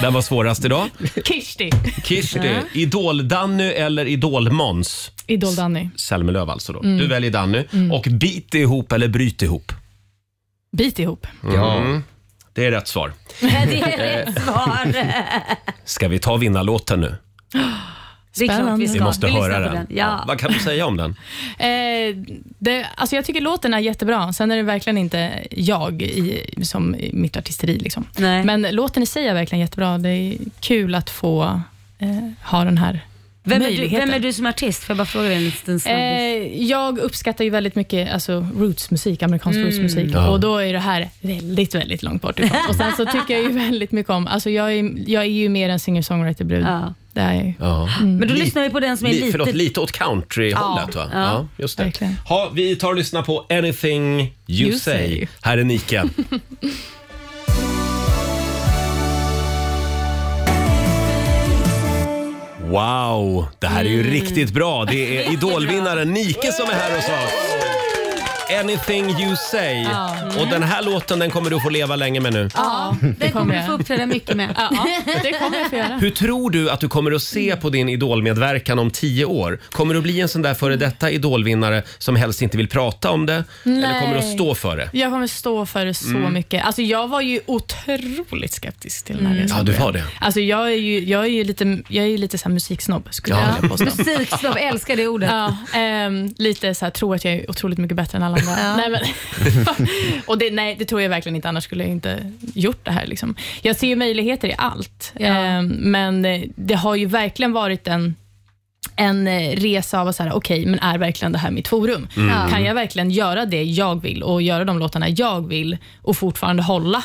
Den var svårast idag.
Kirsti.
Kirsti,
Ja.
Idol-Danny eller Idol-Måns?
Idol Danny.
Selmelöv alltså då.
Mm.
Du väljer Danny. Och bit ihop eller bryt ihop?
Bit
*laughs*
ihop.
Mm. Det är rätt svar.
Det är
Eh.
rätt svar.
Ska vi ta vinnarlåten nu?
Det är klart vi ska.
Vi måste
Vi lyssnar
höra
på
den.
Ja.
Vad kan du säga om
*laughs*
den?
Eh, det, alltså jag tycker låten är jättebra. Sen är det verkligen inte jag i, som i mitt artisteri. Liksom. Men låten i sig är verkligen jättebra. Det är kul att få eh, ha den här
Vem är, du,
möjligheten.
vem är du som artist? Får jag bara fråga dig en liten snabbis?
Eh, jag uppskattar ju väldigt mycket alltså, rootsmusik, amerikansk
Mm.
rootsmusik.
Ja.
Och då är det här väldigt, väldigt långt bort
*laughs*
ifrån. Och sen så tycker jag ju väldigt mycket om, alltså jag är, jag är ju mer en singer-songwriter-brud.
Ja.
Det är jag ju.
Ja.
Mm.
Men då lyssnar vi på den som är
Li-
lite...
Förlåt, lite åt country-hållet
Ja.
va?
Ja.
Ja, just det.
Verkligen.
Ha, vi tar och lyssnar på “Anything You,
You
say.
Say.
Här är
*laughs*
Niken. Wow, det här är ju
Mm.
riktigt bra. Det
*laughs*
är idolvinnaren Nike som är här hos oss. Anything you say.
Ja. Mm.
Och den här låten den kommer du få leva länge med nu.
Ja, den kommer du
jag.
få uppträda mycket med.
*laughs* Ja, det kommer jag få göra.
Hur tror du att du kommer att se på din idolmedverkan om tio år? Kommer du att bli en sån där före detta idolvinnare som helst inte vill prata om det? Eller
Nej.
kommer du att stå för det?
Jag kommer stå för det så
Mm.
mycket. Alltså jag var ju otroligt skeptisk till den här
Mm.
resan.
Ja, du var det.
Alltså jag är ju, jag är ju lite, jag är ju lite så här musiksnobb, skulle
Ja.
jag vilja
*laughs*
påstå.
Musiksnobb, älskar det ordet.
Ja, ehm, lite så här, tror att jag är otroligt mycket bättre än alla andra.
Ja.
Nej, men, *laughs* och det, nej, det tror jag verkligen inte, annars skulle jag inte gjort det här. Liksom. Jag ser ju möjligheter i allt, Ehm, men eh, det har ju verkligen varit en en eh, resa av att säga, okej, men är verkligen det här mitt forum?
Mm. Ja.
Kan jag verkligen göra det jag vill och göra de låtarna jag vill och fortfarande hålla?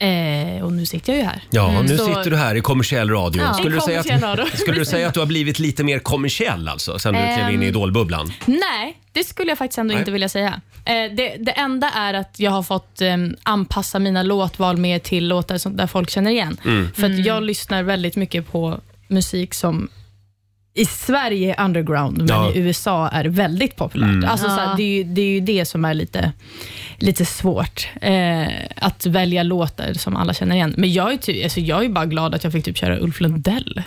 Eh, och nu sitter jag ju här.
Ja,
Mm.
nu
Så-
sitter du här i kommersiell radio.
Ja.
Skulle,
I
du säga
kommersiell
att, *laughs*
radio.
skulle du säga att du har blivit lite mer kommersiell alltså, sen du klev in i
Ehm.
idolbubblan?
Nej, det skulle jag faktiskt ändå
Nej.
inte vilja säga. Eh, det, det enda är att jag har fått eh, anpassa mina låtval mer till låtar som, där folk känner igen.
Mm.
För att jag lyssnar väldigt mycket på musik som i Sverige är underground, men
Ja.
i USA är det väldigt populärt.
Mm.
Alltså, så
Ja.
här, det, är ju, det är ju det som är lite, lite svårt, eh, att välja låtar som alla känner igen. Men jag är, ty, alltså, jag är bara glad att jag fick typ köra Ulf Lundell.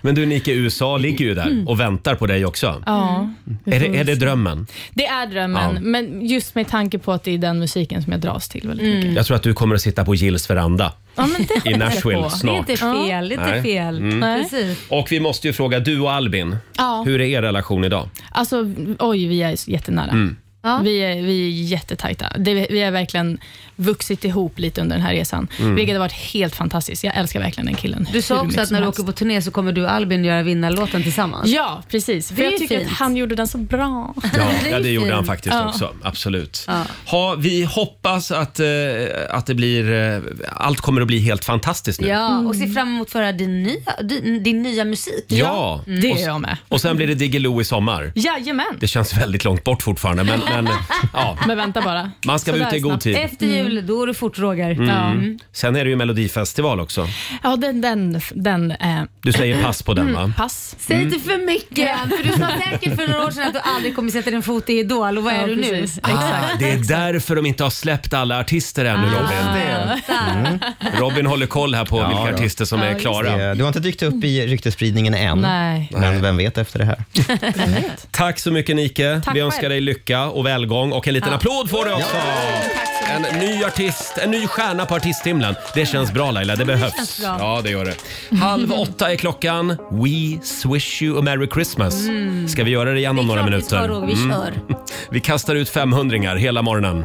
Men du Nike, USA ligger ju där och väntar på dig också.
ja, vi
Mm. Är det,
får
är
väl
det
se.
drömmen?
Mm. Det är drömmen,
Ja.
men just med tanke på att det är den musiken som jag dras till väldigt mycket.
Jag tror att du kommer att sitta på Jills veranda
Mm. Ja, men det
i
hoppas jag
Nashville
på.
snart.
Det är inte fel, det är inte
Nej.
fel.
Mm.
Precis.
Och vi måste ju fråga du och Albin,
Ja.
hur är er relation idag?
Alltså, oj, vi är jättenära.
Mm.
Vi, är, vi är jättetajta. Det, vi har verkligen vuxit ihop lite under den här resan,
Mm.
vilket har varit helt fantastiskt. Jag älskar verkligen den killen.
Du
hur
sa också
mycket
att
som
när du
helst.
åker på turné så kommer du och Albin göra vinnarlåten tillsammans.
Ja, precis. För
Det är
jag
ju
tycker
fint.
att han gjorde den så bra. *laughs*
Ja, ja, det gjorde han
fint.
faktiskt
Ja.
också. Absolut.
Ja.
Ha, vi hoppas att, eh, att det blir, eh, allt kommer att bli helt fantastiskt nu.
Ja,
Mm.
och se fram emot att få höra din nya, din, din nya musik.
Ja,
Mm.
Och s- Och sen blir det Diggiloo i sommar.
Jajamän.
Det känns väldigt långt bort fortfarande, men, men ja.
Men vänta bara.
Man ska vara
Sådär
ute i god
snabbt.
tid.
Efter jul, då går det fort Roger.
Mm.
*laughs* Ja.
Sen är det ju Melodifestival också.
Ja, den... den, den eh,
Du säger pass på den, va?
Mm, pass.
Säg inte för mycket, för du sa säkert för några år sedan att du aldrig kommer sätta din fot i Idol och vad är du nu?
Ah, det är därför de inte har släppt alla artister ännu,
Ah,
Robin. Mm. Robin håller koll här på vilka artister som är klara.
Eh, Du har inte dykt upp
Mm.
i ryktesspridningen än,
Nej.
men vem vet efter det
*laughs*
här.
Tack så mycket Nike.
Tack
Vi
själv.
önskar dig lycka och välgång och en liten
Ja.
applåd får du också. En ny artist, en ny stjärna på artisthimlen. Det känns bra Laila, det behövs.
känns bra.
Ja, det gör det. Halv åtta är klockan. We swish you a merry Christmas.
Mm.
Ska vi göra det igen om några
ska,
minuter? Mm.
Roger. Vi
Mm.
kör.
Vi kastar ut 500 hela morgonen.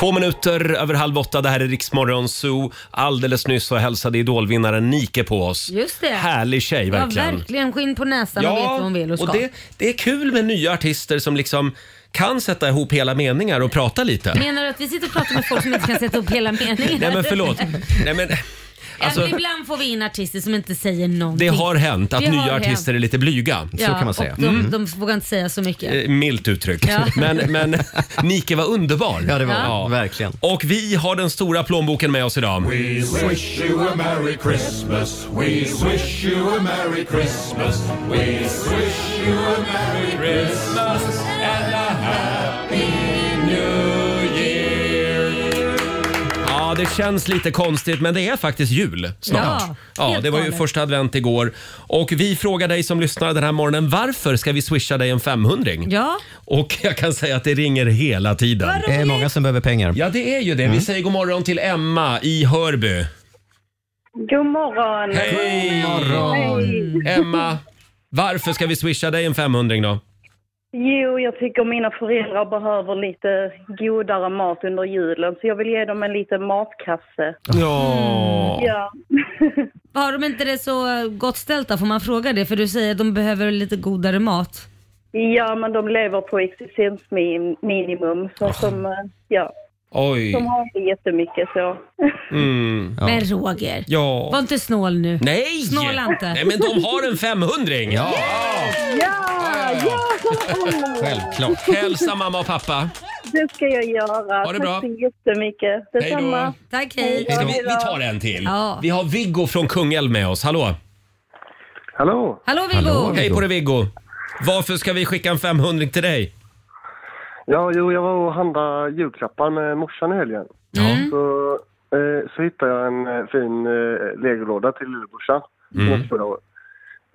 Två minuter över halv åtta, det här är Riksmorgon Zoo. Alldeles nyss så hälsade idolvinnaren Nike på oss.
Just det.
Härlig tjej
Ja,
verkligen.
verkligen skinn på näsan och vet vad hon vill och ska.
och det, det är kul med nya artister som liksom kan sätta ihop hela meningar och prata lite.
Menar du att vi sitter och pratar med folk som inte kan sätta upp hela meningen?
Nej men förlåt. Nej, men, alltså,
ja, men ibland får vi in artister som inte säger
det
någonting.
har hänt att
Det har
nya
hänt.
artister är lite blyga.
Ja, Och de,
Mm.
de vågar inte säga så mycket.
Eh, Milt uttryckt.
Ja.
Men,
*laughs*
men Nike var underbar.
Ja, det
var
verkligen.
Och vi har den stora plånboken med oss idag.
We wish you a Merry Christmas. We wish you a Merry Christmas. We wish you a Merry Christmas and a Happy New Year.
Ja, det känns lite konstigt men det är faktiskt jul snart.
Ja,
Ja,
helt
det var ju
galet.
första advent igår. Och vi frågar dig som lyssnar den här morgonen, varför ska vi swisha dig en 500
Ja.
Och jag kan säga att det ringer hela tiden.
Det är många som behöver pengar. Mm.
Ja, det är ju det. Vi säger god morgon till Emma i Hörby.
God morgon!
Hej!
Hej.
Emma, varför ska vi swisha dig en 500 då?
Jo, jag tycker mina föräldrar behöver lite godare mat under julen så jag vill ge dem en liten matkasse.
Ja.
Ja.
Har de inte det så gott ställt då? Får man fråga det? För du säger att de behöver lite godare mat.
ja, men de lever på existensminimum så att de, eh, ja,
Oj.
de har inte jättemycket så. *laughs*
Mm.
Men Roger,
Ja.
var inte snål nu.
Nej!
Snåla inte.
Nej, men de har en 500 ja.
Ja, ja!
Självklart. Hälsa mamma och pappa.
Det ska jag göra.
Ha det bra.
Tack så jättemycket.
då.
Detsamma.
Tack,
Ska vi, vi tar en till.
Ja.
Vi har Viggo från Kungälv med oss. Hallå! Hallå!
Hallå, Viggo. Hallå, Viggo.
Hej på dig Viggo! Varför ska vi skicka en 500 till dig?
Ja, jo, jag var och handlade julklappar med morsan i helgen. Så, eh, så hittade jag en eh, fin eh, legolåda till lillebrorsan.
Mm.
Mm. Förra året.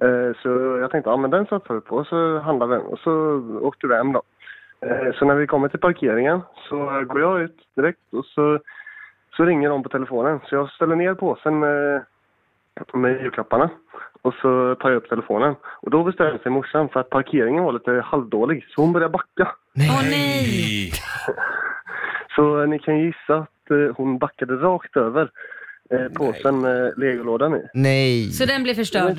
Eh, så jag tänkte, ja men den satsar vi på. Och så handlade vi den och så åkte vi hem då. Eh, så när vi kommer till parkeringen så går jag ut direkt och så, så ringer de på telefonen. Så jag ställer ner påsen med, med julklapparna. Och så tar jag upp telefonen. Och då bestämde sig morsan för att parkeringen var lite halvdålig. Så hon började backa.
nej!
*laughs* Så eh, ni kan ju gissa att eh, hon backade rakt över eh, påsen med legolådan i.
Nej.
Så den blev förstörd.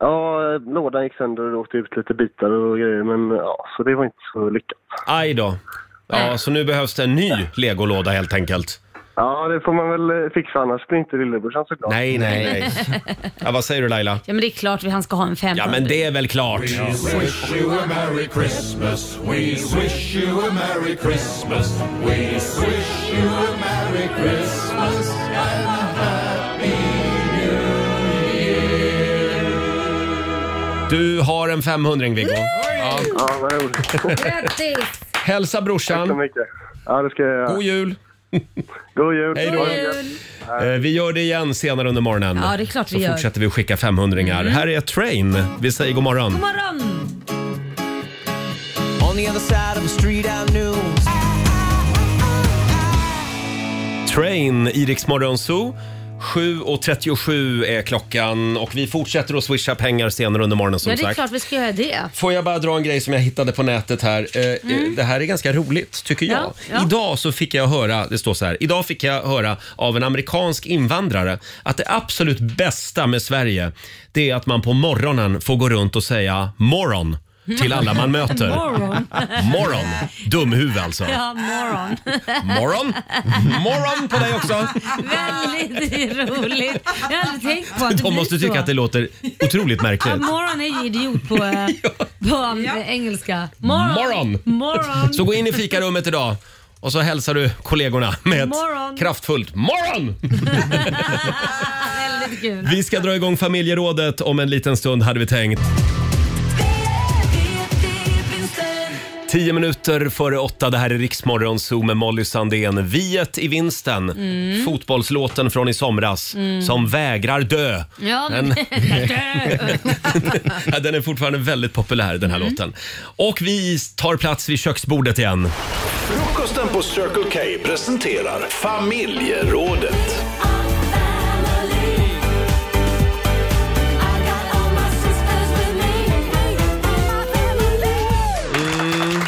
Ja, eh, lådan gick sönder och det åkte ut lite bitar och grejer men ja, så det var inte så lyckat.
Aj då. Ja, så nu behövs det en ny legolåda helt enkelt.
Ja, det får man väl eh, fixa annars blir inte lillebrorsan så glad.
Nej, nej, nej. Ja, vad säger du Laila?
*laughs* Ja men det är klart att han ska ha en 500.
Ja, men det är väl klart.
We wish you a Merry Christmas. We wish you a Merry Christmas. We wish you a Merry Christmas and a Happy New Year.
Du har en 500 Viggo. Ja.
Grattis!
Hälsa brorsan. Tack så
mycket. Ja, det ska jag
God jul!
God jul!
Hej då.
God jul.
Eh, Vi gör det igen senare under morgonen.
Ja, det är klart
Så
vi gör. Mm.
fortsätter vi att skicka 500 Här är Train. Vi säger god morgon.
God morgon!
On the other side of the street I knew
Train i Rix Morgon Zoo. 7.37 är klockan och vi fortsätter att swisha pengar senare under morgonen som
ja, det är
sagt.
klart vi ska göra det.
Får jag bara dra en grej som jag hittade på nätet här. Eh, eh,
Mm.
Det här är ganska roligt tycker jag.
Ja, ja.
Idag så fick jag höra, det står så här, idag fick jag höra av en amerikansk invandrare att det absolut bästa med Sverige, det är att man på morgonen får gå runt och säga morgon till alla man möter.
*laughs* Moron.
Morgon! Dumhuvud alltså.
Ja, moron.
Moron? Moron på dig också.
*laughs* Väldigt roligt. Jag har aldrig tänkt på att det
De måste
blir
tycka
så.
att det låter otroligt
*laughs* Ja,
märkligt.
moron är ju
*laughs*
idiot på, eh, på eh, engelska. Moron.
Moron.
Moron.
Så gå in i fikarummet idag och så hälsar du kollegorna med ett
Moron.
kraftfullt morgon!
Väldigt kul.
Vi ska dra igång familjerådet om en liten stund hade vi tänkt. Tio minuter före åtta, det här är Riksmorgon Zoo med Molly Sandén. Viet i vinsten,
Mm.
fotbollslåten från i somras
Mm.
som vägrar dö.
Ja,
Den- *laughs*
men...
Ja, den är fortfarande väldigt populär den här
Mm.
låten. Och vi tar plats vid köksbordet igen.
Frukosten på Circle K presenterar familjerådet.
Mm.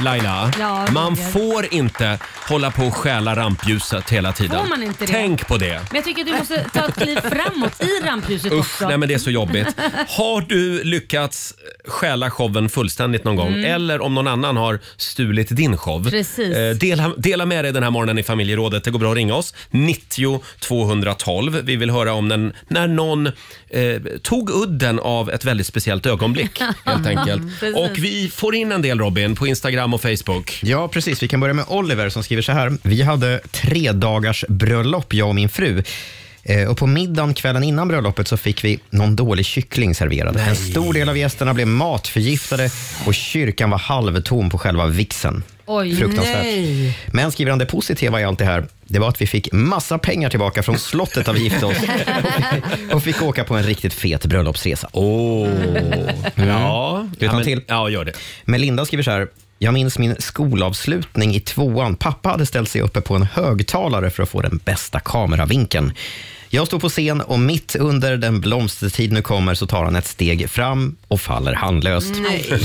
Laila,
Ja, Roger.
man får inte hålla på och stjäla rampljuset hela tiden.
Får man inte det?
Tänk på det.
Men jag tycker att du måste ta ett kliv framåt i rampljuset
Usch,
också.
nej men det är så
*laughs*
jobbigt. Har du lyckats stjäla showen fullständigt någon gång
Mm.
eller om någon annan har stulit din show?
Precis.
eh, Dela, dela med dig den här morgonen i familjerådet. Det går bra att ringa oss. 90 212. Vi vill höra om den, när någon eh, tog udden av ett väldigt speciellt
*laughs*
ögonblick helt enkelt.
Precis.
Och vi får in en del Robin på Instagram och Facebook.
Ja, precis. Vi kan börja med Oliver som skriver så här. Vi hade tre dagars bröllop, jag och min fru. Eh, Och på middagen kvällen innan bröllopet så fick vi någon dålig kyckling serverad. En stor del av gästerna blev matförgiftade och kyrkan var halvtom på själva vigseln.
Oj,
Fruktansvärt.
nej.
Men skriver han det positiva i allt det här, det var att vi fick massa pengar tillbaka från slottet där vi
*laughs*
gifte oss och fick åka på en riktigt fet bröllopsresa. Mm.
Åh, ja.
Ska vi ta en till?
Ja, gör det.
Melinda skriver så här. Jag minns min skolavslutning i tvåan. Pappa hade ställt sig uppe på en högtalare för att få den bästa kameravinkeln. Jag står på scen och mitt under den blomstertid nu kommer så tar han ett steg fram och faller handlöst.
Aj,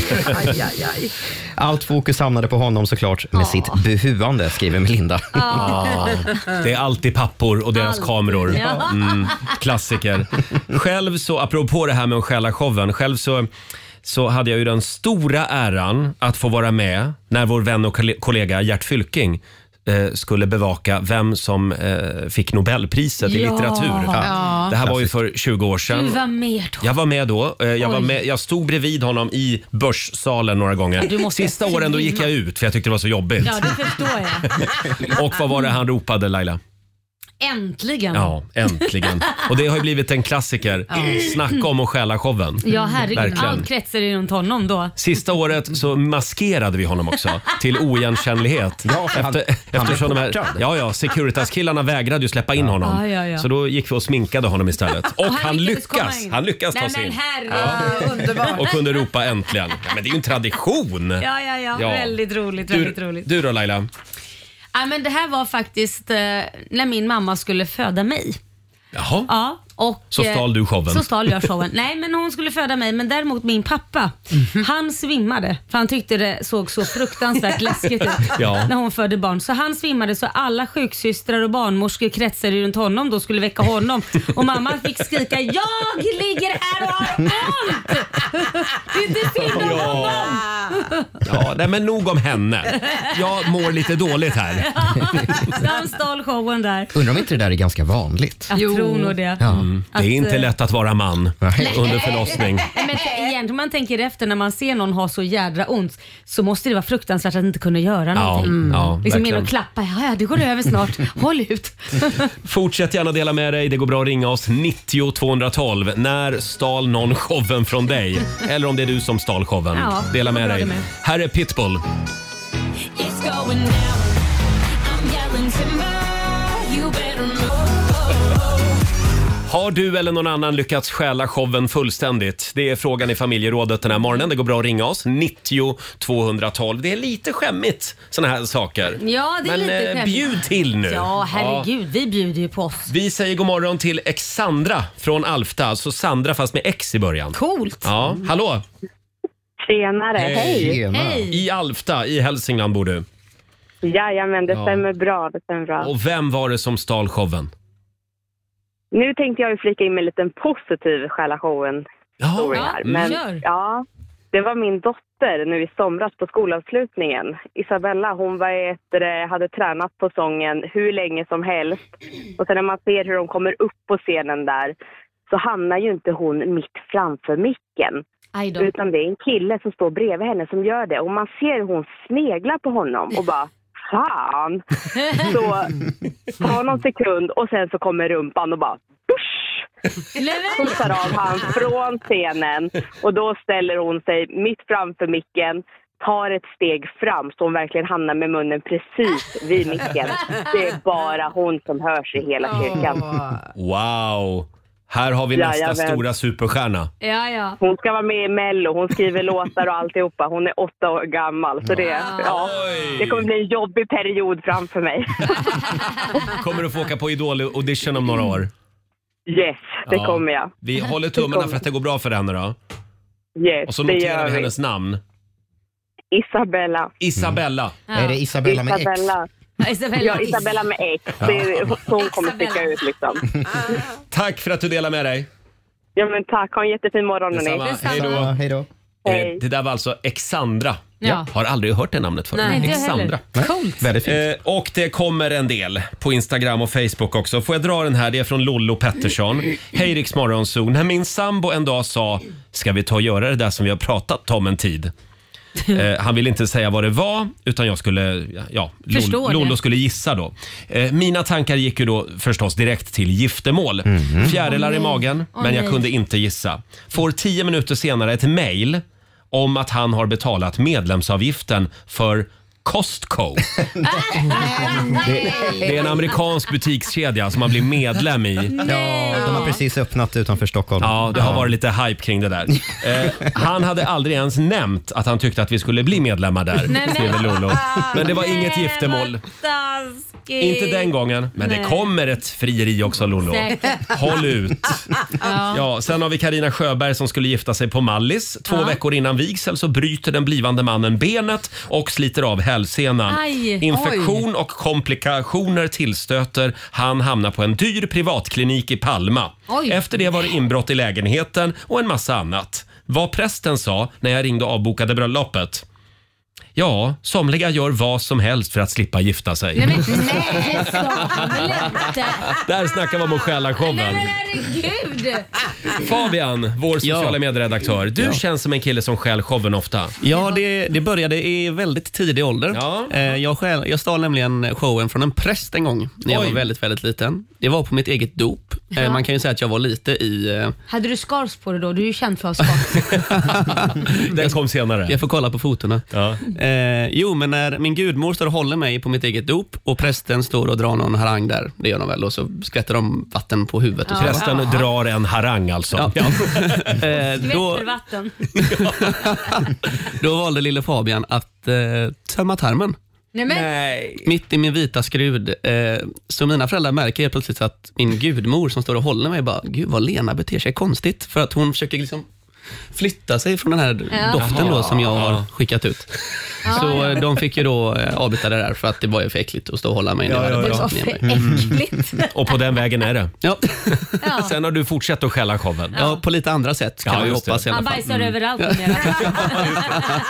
aj, aj.
Allt fokus hamnade på honom såklart med sitt buhuande, skriver Melinda.
Ja. Ah. Det är alltid pappor och deras
Alltid.
kameror.
Ja.
Mm, klassiker. Själv så, apropå det här med att stjäla showen, själv så, så hade jag ju den stora äran att få vara med när vår vän och kolle- kollega Gert Fylking eh, skulle bevaka vem som eh, fick Nobelpriset i
Ja.
litteratur.
Ja.
Det här var ju för 20 år sedan.
Du var med då.
Jag var med då. Eh, Jag, var
Oj.
med, jag stod bredvid honom i Börssalen några gånger.
Du måste
Sista åren då gick jag ut för jag tyckte det var så jobbigt.
Ja, det förstår jag.
Och vad var det han ropade Laila?
Äntligen.
Ja, äntligen. Och det har ju blivit en klassiker.
Ja.
Snacka om att stjäla showen.
Ja, herregud.
Verkligen.
Allt kretsar ju runt honom då.
Sista året så maskerade vi honom också till oigenkännlighet.
Ja, för han- han blev
eftersom de här,
portad.
ja, ja, Securitas-killarna vägrade ju släppa in honom.
Ja, ja, ja.
Så då gick vi och sminkade honom istället. Och,
Och han
han,
lyckades komma
lyckas,
in.
han lyckas
Nej,
ta sig
men
in.
herregud, underbart.
Och kunde ropa äntligen. Ja, men det är ju en tradition.
Ja, ja, ja. Väldigt roligt,
Du,
väldigt roligt.
du då Laila?
Ja, men det här var faktiskt eh, när min mamma skulle föda mig.
Jaha.
Ja, och,
Så stal du showen.
eh, Så stal jag showen. Nej, men hon skulle föda mig, men däremot min pappa,
Mhm.
han svimmade för han tyckte det såg så fruktansvärt läskigt ut
*laughs*
Ja.
när hon födde barn. Så han svimmade så alla sjuksystrar och barnmorskor kretsade runt honom då skulle väcka honom och mamma fick skrika “Jag ligger här och har ont!” Det är inte synd om
Ja.
honom! *laughs*
Ja, nej, men nog om henne. Jag mår lite dåligt här.
Så han stal showen där.
Undrar om inte det där är ganska vanligt?
Jag tror nog det.
Mm. Det är inte
eh,
lätt att vara man
Nej.
*laughs* under förlossning.
Nej, men egentligen om man tänker efter när man ser någon ha så jädra ont så måste det vara fruktansvärt att inte kunna göra
Ja,
någonting.
Mm. ja,
liksom in
verkligen.
och klappa, ja, ja det går över
*laughs*
snart, håll ut.
Fortsätt gärna dela med dig. Det går bra att ringa oss 90 212. När stal någon showen från dig? Eller om det är du som stal showen.
Ja,
dela med
vad bra
dig.
det med.
Här är Pitbull. Har du eller någon annan lyckats stjäla showen fullständigt? Det är frågan i familjerådet den här morgonen. Det går bra att ringa oss, 90 212. Det är lite skämmigt sådana här saker.
Ja, det är
Men
lite
eh,
skämt.
bjud till nu.
Ja, herregud. Vi bjuder ju på oss.
Vi säger god morgon till Exandra från Alfta, alltså Sandra fast med X i början.
Coolt!
Ja, hallå!
Tjenare, hej!
I Alfta, i Hälsingland bor du.
Jajamän, det
Ja.
stämmer bra. Det stämmer bra.
Och vem var det som stal showen?
Nu tänkte jag ju flika in med en liten positiv själashowen historia
Ja,
här.
mm.
Men
Kör.
ja, det var min dotter nu i somras på skolavslutningen. Isabella, hon var ett, eh, hade tränat på sången hur länge som helst. Och sen när man ser hur de kommer upp på scenen där så hamnar ju inte hon mitt framför micken.
Aj då.
Utan det är en kille som står bredvid henne som gör det. Och man ser hur hon sneglar på honom och bara
*laughs*
Fan! Så tar någon sekund och sen så kommer rumpan och bara pushar av han från scenen och då ställer hon sig mitt framför micken, tar ett steg fram så hon verkligen hamnar med munnen precis vid micken. Det är bara hon som hörs i hela kyrkan.
Wow! Här har vi nästa
Jajamän.
stora superstjärna.
Ja, ja.
Hon ska vara med i Mello, hon skriver låtar och alltihopa. Hon är åtta år gammal så det, ja, det kommer bli en jobbig period framför mig.
Kommer du få åka på Idol-audition om några år?
Yes, det
Ja.
kommer jag.
Vi håller
Det
tummarna
kommer.
för att det går bra för henne då.
Yes,
Och så
det
noterar
gör
vi
vi.
hennes namn.
Isabella.
Isabella.
Ja. Mm. Är det Isabella med X? Isabella.
Isabella.
Ja, Isabella med X. Det är, hon kommer sticka ut liksom.
Tack för att du delar med dig.
Ja men tack, ha en jättefin morgon
Detsamma.
hörni.
Hej då.
Hej då.
Hej.
Eh, Det där var alltså Exandra.
Ja.
Jag har aldrig hört det namnet förut.
Nej, inte jag
Exandra.
Coolt.
Väldigt fint. Eh, och det kommer en del på Instagram och Facebook också. Får jag dra den här? Det är från Lollo Pettersson. Hej Rix Morgonzoo. När min sambo en dag sa “Ska vi ta och göra det där som vi har pratat om en tid?” Eh, han ville inte säga vad det var, utan jag skulle... Ja,
Förstår
Lol-
det.
Lollo skulle gissa då. Eh, mina tankar gick ju då förstås direkt till giftermål. Fjärilar
Åh,
i
nej.
magen,
Åh,
men jag
nej.
kunde inte gissa. Får tio minuter senare ett mejl om att han har betalat medlemsavgiften för
*laughs*
Costco. Det är en amerikansk butikskedja som man blir medlem i.
Ja, de har precis öppnat utanför Stockholm.
Ja, det har varit lite hype kring det där. Eh, han hade aldrig ens nämnt att han tyckte att vi skulle bli medlemmar där,
Nej, men-
skriver Lollo. Men det var inget giftermål.
Taskigt.
Inte den
*laughs*
gången, men det
Nej.
kommer ett frieri också Lollo.
Säkert.
Håll ut.
*laughs* Ah, Ja.
Ja, sen har vi Karina Sjöberg som skulle gifta sig på Mallis. Två
Ja.
veckor innan vigsel så bryter den blivande mannen benet och sliter av hälsenan.
Aj.
Infektion och komplikationer tillstöter. Han hamnar på en dyr privatklinik i Palma.
Oj.
Efter det var det inbrott i lägenheten och en massa annat. Vad prästen sa när jag ringde och avbokade bröllopet? Ja, somliga gör vad som helst för att slippa gifta sig.
Nej, men nej, det sa han väl inte?
Där snackar vi om att stjäla
Nej,
showen.
men herregud!
Fabian, vår sociala medieredaktör. Du känns som en kille som stjäl showen ofta.
Ja, det, det började i väldigt tidig ålder. Eh, Jag, stjäl, jag stal nämligen showen från en präst en gång när jag
Oj.
var väldigt, väldigt liten. Det var på mitt eget dop. Eh,
Ja.
Man kan ju säga att jag var lite i... eh,
Hade du scars på dig då? Du är ju känd för att ha scars.
*laughs* Den kom senare.
Jag får kolla på fotona. Eh, jo, men när min gudmor står och håller mig på mitt eget dop och prästen står och drar någon harang där, det gör de väl, och så skvätter de vatten på huvudet. Och så.
Prästen
Ja.
drar en harang alltså.
Ja. *laughs* Eh, då,
Skvätter vatten.
då valde lille Fabian att eh, tömma tarmen.
Nej, men.
Mitt i min vita skrud. Eh, så mina föräldrar märker helt plötsligt att min gudmor som står och håller mig bara, gud vad Lena beter sig konstigt. För att hon försöker liksom flytta sig från den här
Ja.
doften
Jaha.
då som jag har skickat ut.
Ja,
Så
ja.
eh, de fick ju då eh, avbryta det där för att det var ju för äckligt att stå och hålla mig. när
Ja, Mm.
jag hade
ja, ja.
bajsat ner mig.
Mm.
*laughs* Och på den vägen är det.
Ja.
Sen har du fortsatt att stjäla showen.
Ja, på lite andra sätt kan man ju hoppas i alla
Han
fall.
Mm.
bajsar överallt numera.
*laughs*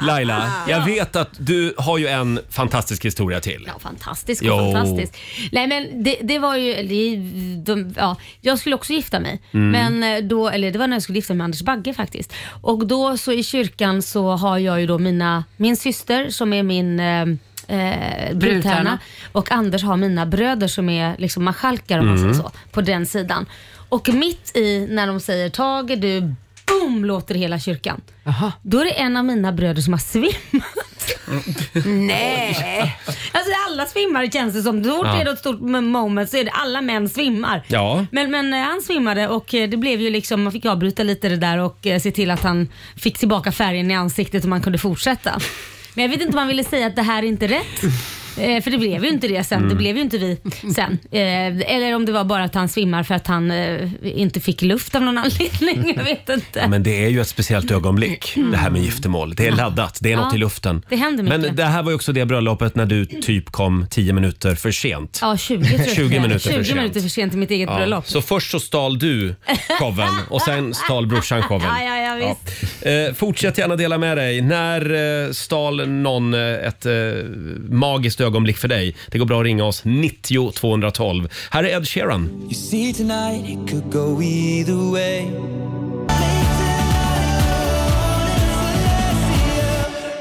Laila, jag vet att du har ju en fantastisk historia till.
Ja, fantastisk
Jo.
och fantastisk. Nej men det, det var ju, det, de, ja, jag skulle också gifta mig.
Mm.
Men eh, då, eller det var när jag skulle gifta mig med Anders Bagge faktiskt. Och då så i kyrkan så har jag ju då mina, min syster som är min eh, Eh, brudtärna
Brudtärna.
och Anders har mina bröder som är liksom marskalkar om man
Mm.
säger så, på den sidan. Och mitt i när de säger Tage du, boom låter hela kyrkan. Då är det en av mina bröder som har svimmat.
Nej.
*laughs* Alltså alla svimmar känns det som. Så fort
Ja.
det är något stort moment så är det alla män svimmar.
Ja.
Men, men eh, han svimmade och eh, det blev ju liksom, man fick avbryta lite det där och eh, se till att han fick tillbaka färgen i ansiktet och man kunde fortsätta. Men jag vet inte om man ville säga att det här är inte rätt. Eh, för det blev ju inte det sen.
Mm.
Det blev ju inte vi sen. Eh, eller om det var bara att han svimmar för att han eh, inte fick luft av någon anledning. Jag vet inte.
Ja, Men det är ju ett speciellt ögonblick,
Mm.
det här med giftermål. Det är laddat, det är något
Ja,
i luften.
det händer mycket.
Men det här var ju också det bröllopet när du typ kom 10 minuter för sent.
Ja, 20 tror jag.
20 minuter för
20
sent.
minuter för sent till mitt eget
Ja,
bröllop.
Så först så stal du showen och sen stal brorsan showen.
Ja, ja, ja, visst.
Eh, fortsätt gärna dela med dig. När eh, stal någon eh, ett eh, magiskt ögonblick för dig? Det går bra att ringa oss 90 212. Här är Ed Sheeran.
You see tonight it could go either way.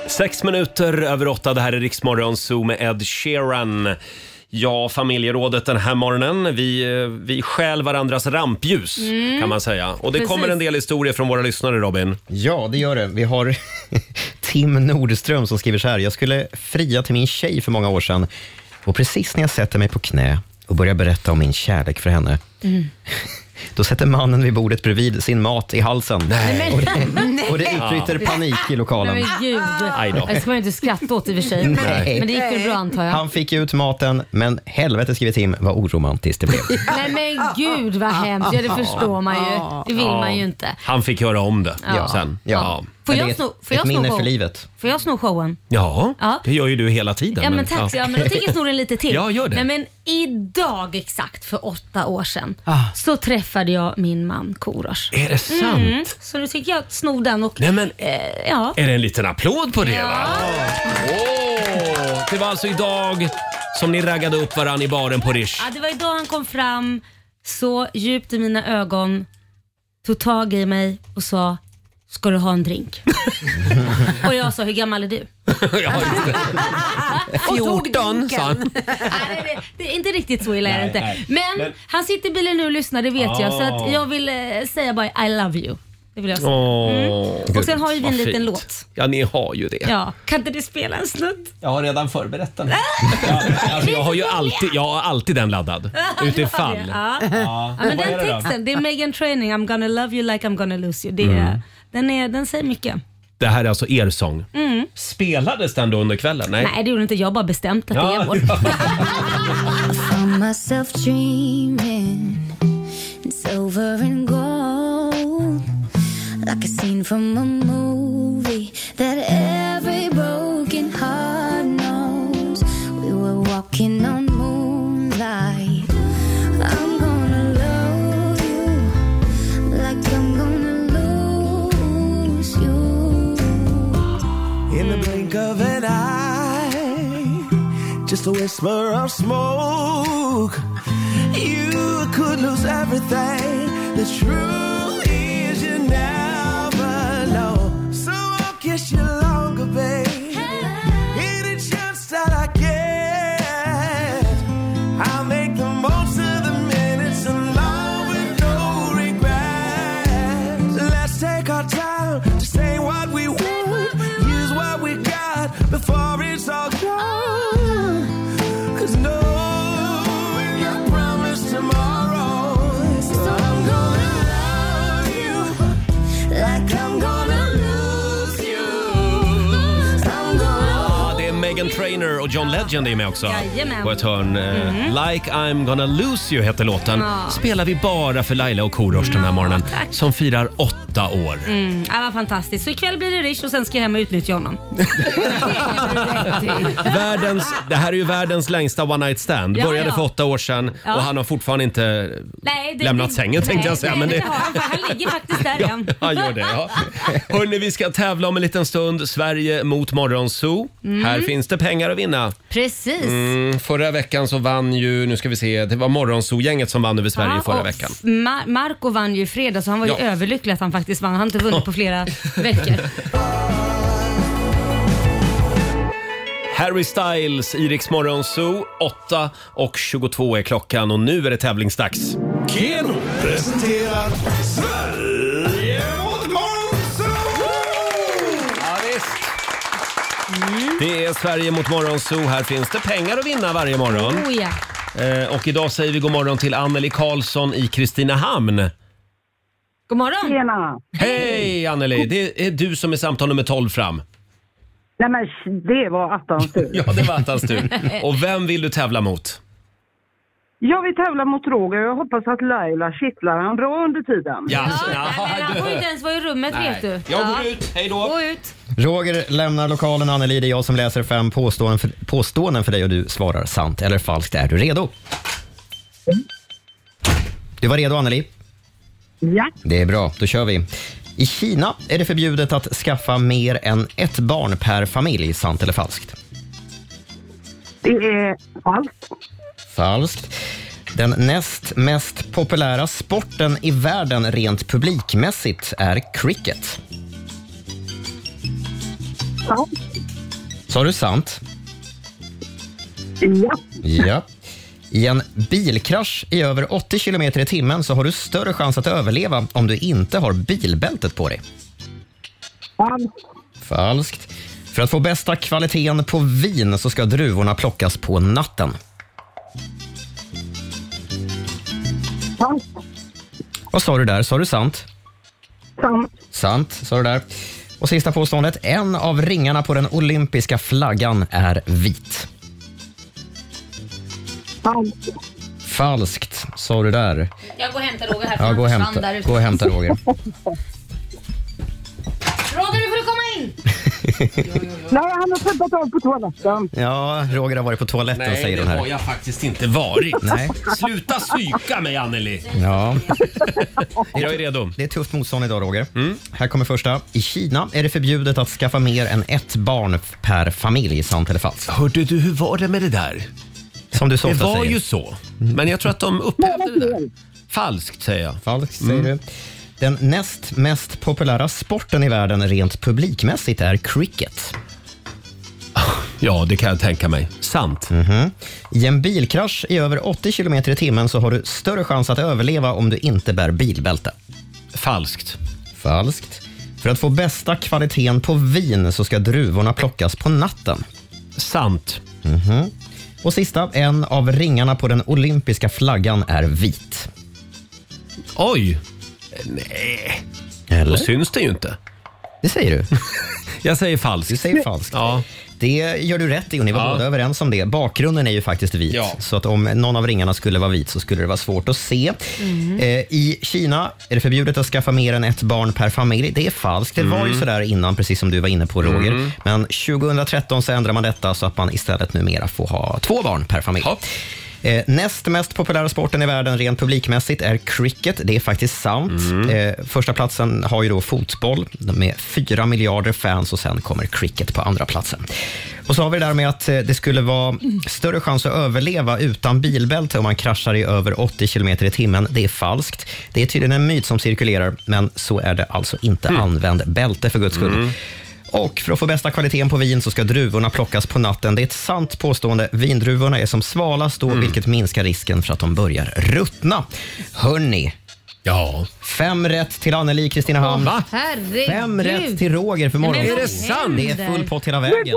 Sex minuter över åtta. Det här är Riksmorgon Zoo med Ed Sheeran. Ja, familjerådet den här morgonen. Vi, eh, vi stjäl varandras rampljus
Mm.
kan man säga. Och det
Precis.
kommer en del historier från våra lyssnare, Robin.
Ja, det gör det. Vi har *laughs* Tim Nordström som skriver så här. Jag skulle fria till min tjej för många år sedan och precis när jag sätter mig på knä och börjar berätta om min kärlek för henne,
Mm.
då sätter mannen vid bordet bredvid sin mat i halsen.
men-
Och, det, och det utbryter
Ja.
panik i lokalen.
Nej, men gud.
Aj då.
Det ska man ju inte skratta åt i och för sig.
Nej.
Men det gick väl bra antar jag.
Han fick ut maten, men helvete skriver Tim vad oromantiskt det
*laughs*
blev.
Nej men gud vad hemskt. Ja, det förstår man ju. Det vill
Ja.
man ju inte.
Han fick höra om det
Ja.
sen.
Ja. Får jag sno- får jag sno showen? Får jag sno showen?
Ja,
Ja.
det gör ju du hela tiden.
Ja men tack. Ja, men då tänker jag sno den lite
*laughs*
till.
Ja, gör det.
Nej, men idag exakt för åtta år sedan så träffade jag min man Korosh.
Ah.
Mm,
Är det sant?
Så nu tänker jag sno den och...
Nej, men-
eh, ja.
Är det en liten applåd på det? Va? Åh, Det var alltså idag som ni raggade upp varann i baren på Rish. *laughs*
Ja, det var idag han kom fram så djupt i mina ögon, tog tag i mig och sa Ska du ha
*laughs*
en drink? och jag sa, hur gammal är du? *laughs* Och tog
14, sa han.
drinken. Nej, det, det är inte riktigt så illa är det
Nej,
inte.
nej.
Men,
Men-
han sitter i bilen nu och lyssnar, det vet jag. Så
Ah.
att jag vill eh, säga bara I love you. Det vill jag säga.
Åh,
Mm. Och sen har ju vi en
vad
liten
fint.
låt.
Ja, ni har ju det.
Ja, kan inte du spela
*laughs*
en snutt?
Jag har redan förberett
*laughs*
den.
Alltså, jag har ju alltid, jag har alltid den laddad. Utifall.
Ja. Ja, men
Ah. Vad
den
är det då?
texten, det är Megan Training, I'm gonna love you like I'm gonna lose you. Det är,
Mm.
den, är, den säger mycket.
Det här är alltså er sång.
Mm.
Spelades den då under kvällen? Nej.
Nej. det gjorde inte jag, jag bara bestämt att det
*laughs*
är vår.
I found myself dreaming in silver and gold, like a scene from a movie that every broken heart knows. We were walking on moonlight. I'm gonna love you like I'm gonna lose you.
In the blink of an eye, just a whisper of smoke. You could lose everything. The truth is, you never know. So I'll kiss you longer, babe. Any chance that I get, I'll make the most of the minutes in love with no regrets. Let's take our time to say what we want, use what we got before it's all gone. Cause no, you promise tomorrow. So I'm gonna love you like I'm gonna lose you. I'm gonna
Ja, det är Megan Trainor och John Legend är med också.
Jajamän. Mhm.
På ett hörn. eh, Like I'm gonna lose you heter låten.
Ja.
Spelar vi bara för Laila och Korosh den här morgonen. Som firar åtta år.
Mm, ja, vad fantastiskt. Så ikväll blir det Rish och sen ska jag hem och utnyttja honom.
Världens, det här är ju världens längsta one night stand.
Ja,
Började
ja.
för åtta år sedan
Ja.
och han har fortfarande inte
*laughs* Nej, det-
lämnat
det-
sängen tänkte
nej,
jag säga.
nej,
Men
det
det,
har han, han ligger
*laughs*
faktiskt där än.
han gör det, *laughs* ja. Hörrni, vi ska tävla om en liten stund. Sverige mot Morgonzoo.
Mm.
Här finns det pengar att vinna.
Precis.
Mm, förra veckan så vann ju, nu ska vi se, det var Morgonzoo-gänget som vann över Sverige
Ja,
förra
och
veckan.
Mar- Marco vann ju i fredags så han var ju
Ja.
överlycklig att han faktiskt vann. Han har inte vunnit på flera veckor.
Harry Styles, i Rix Morgonzoo, 8 och 22 är klockan och nu är det tävlingsdags.
Keno presenterar Sverige mot Månsö!
Ja, visst. Det är Sverige mot Morgonzoo. Här finns det pengar att vinna varje morgon.
Oh, ja.
Eh, Och idag säger vi god morgon till Anneli Karlsson i Kristinehamn.
God morgon.
Tjena.
Hej Anneli! Det är du som är samtal nummer 12 fram.
Nej men sh- det var attans tur.
Ja, det var attans tur.
*laughs*
Och vem vill du tävla mot?
Jag vill tävla mot Roger och jag hoppas att Laila kittlar han bra under tiden.
Ja,
Men han får ju inte ens vara i rummet
Nej.
vet du.
Jag
går ut, hej då.
Gå ut.
Roger lämnar lokalen. Anneli, det är jag som läser fem påståenden för, påståenden för dig och du svarar sant eller falskt. Är du redo? Du var redo, Anneli?
Ja.
Det är bra. Då kör vi. I Kina är det förbjudet att skaffa mer än ett barn per familj. Sant eller falskt?
Det är falskt.
Falskt. Den näst mest populära sporten i världen rent publikmässigt är cricket.
Sant.
Sa du sant?
Ja.
Ja. I en bilkrasch i över 80 km i timmen så har du större chans att överleva om du inte har bilbältet på dig.
Falskt.
Falskt. För att få bästa kvaliteten på vin så ska druvorna plockas på natten.
Falskt.
Vad sa du där? Sa du sant?
Sant.
Sant, sa du där. Och sista påståendet. En av ringarna på den olympiska flaggan är vit.
Falskt.
Falskt, sa du där. *laughs*
Jag går och hämtar Roger här för
Ja,
han
gå och
försvann
hämta,
där ute.
gå och hämta Roger.
Roger nu får du komma in.
Nej, han har tvättat av på toaletten.
Ja, Roger har varit på toaletten,
Nej,
säger
det
hon här.
har jag faktiskt inte
*laughs*
varit.
Nej.
Sluta psyka mig Anneli!
Ja.
*laughs* Jag är redo. Mm.
Det är tufft motstånd idag, Roger. Här kommer första. I Kina är det förbjudet att skaffa mer än ett barn per familj. Sant eller falskt?
Hörde du, hur var det med det där?
Som du så
Det
ofta
var
säger.
ju så. Men jag tror att de upphävde det där. Falskt säger jag. Mm.
Falskt säger du. Den näst mest populära sporten i världen rent publikmässigt är cricket.
Ja, det kan jag tänka mig. Sant.
Mhm. I en bilkrasch i över 80 km i timmen så har du större chans att överleva om du inte bär bilbälte.
Falskt.
Falskt. För att få bästa kvaliteten på vin så ska druvorna plockas på natten. Mhm.
Sant.
Och sista, en av ringarna på den olympiska flaggan är vit.
Oj! Eh, Nej.
Eller?
Då syns det ju inte.
Det säger du.
*laughs* jag säger falskt.
Du säger falskt.
Ja.
Det gör du rätt i och ni var
Ja.
båda överens om det. Bakgrunden är ju faktiskt vit,
Ja.
så att om någon av ringarna skulle vara vit så skulle det vara svårt att se.
Mm.
Mm.
Eh, I Kina är det förbjudet att skaffa mer än ett barn per familj. Det är falskt. Det var ju
Mm.
sådär innan, precis som du var inne på Roger.
Mm.
Men 2013 så ändrade man detta så att man istället numera får ha två barn per familj. Eh, Näst mest populära sporten i världen rent publikmässigt är cricket. Det är faktiskt sant. Eh, första platsen har ju då fotboll med fyra miljarder fans och sen kommer cricket på andra platsen. Och så har vi det där med att eh, det skulle vara större chans att överleva utan bilbälte om man kraschar i över 80 km i timmen. Det är falskt. Det är tydligen en myt som cirkulerar, men så är det alltså inte. Använd bälte för guds skull. Och för att få bästa kvaliteten på vin så ska druvorna plockas på natten. Det är ett sant påstående. Vindruvorna är som svalast då,
Mm.
vilket minskar risken för att de börjar ruttna. Hörni.
Ja.
Fem rätt till Anneli i Kristinehamn.
Herregud.
Fem rätt till Roger för
Nej, men
morgonen.
vad Är det sant?
Det är full pott hela vägen.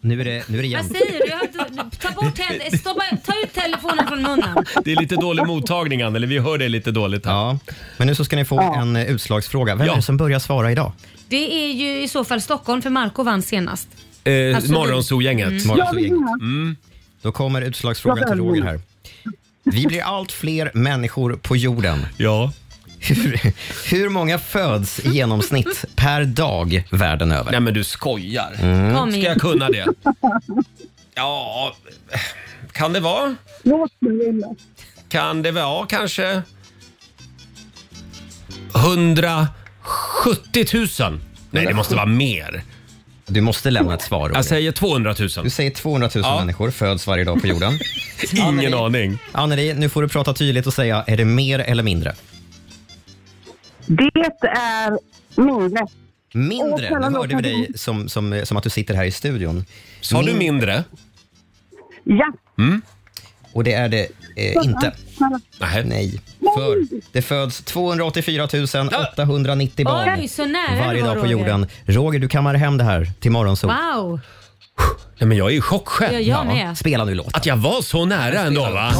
Nu är det, nu är det
Vad
jämnt.
säger du? Jag har inte- Ta bort henne. Stoppa, ta ut telefonen från munnen.
Det är lite dålig mottagning Anneli, vi hör dig lite dåligt här.
Ja. Men nu så ska ni få en eh, utslagsfråga. Vem är det som börjar svara idag?
Det är ju i så fall Stockholm för Marco vann senast.
Eh,
Absolut.
Morgonzoo-gänget.
Mm.
Då kommer utslagsfrågan till Roger här. Vi blir allt fler människor på jorden.
Ja.
Hur, hur många föds i genomsnitt per dag världen över? Mm. Nej
men du skojar.
Kom
Ska
igen.
jag *laughs* kunna det? Ja, kan det vara? Kan det vara kanske 170 000? Nej, det måste vara mer.
Du måste lämna ett svar.
Jag säger 200 000.
Du säger 200 000 människor föds varje dag på jorden.
*laughs* Ingen aning.
Anneli, nu får du prata tydligt och säga, är det mer eller mindre?
Det är mindre.
Mindre? Nu hörde vi dig som, som, som att du sitter här i studion.
Sa du mindre?
Ja.
Mm.
Och det är det eh, inte.
Nej.
Nej. För det föds 284 890 barn
Oj, så nära
varje
det var,
dag på
Roger.
jorden. Roger, du kammar hem det här till morgonsol.
Wow.
Nej, men jag är i chock själv.
Ja, jag med.
Spela nu låt.
Att jag var så nära ändå va?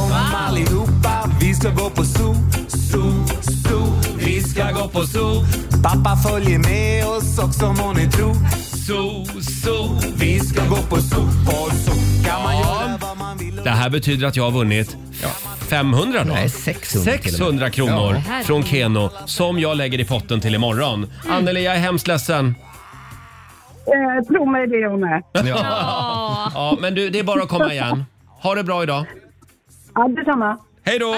allihopa, vi ska gå på zoo, zoo, zoo. Vi ska gå på zoo. Pappa följer med oss också må ni tro. Zoo, zoo. Vi ska gå på zoo, på zoo. Kan man göra vad man vill.
Det här betyder att jag har vunnit 500 då?
Nej, 600 till och med.
600 kronor
Ja.
från Keno som jag lägger i potten till imorgon. Anneli, jag är hemskt ledsen.
Eh, tro mig det hon är.
Ja. *laughs* ja, men du, det är bara att komma igen. Ha det bra idag.
Ja, detsamma.
Hej då!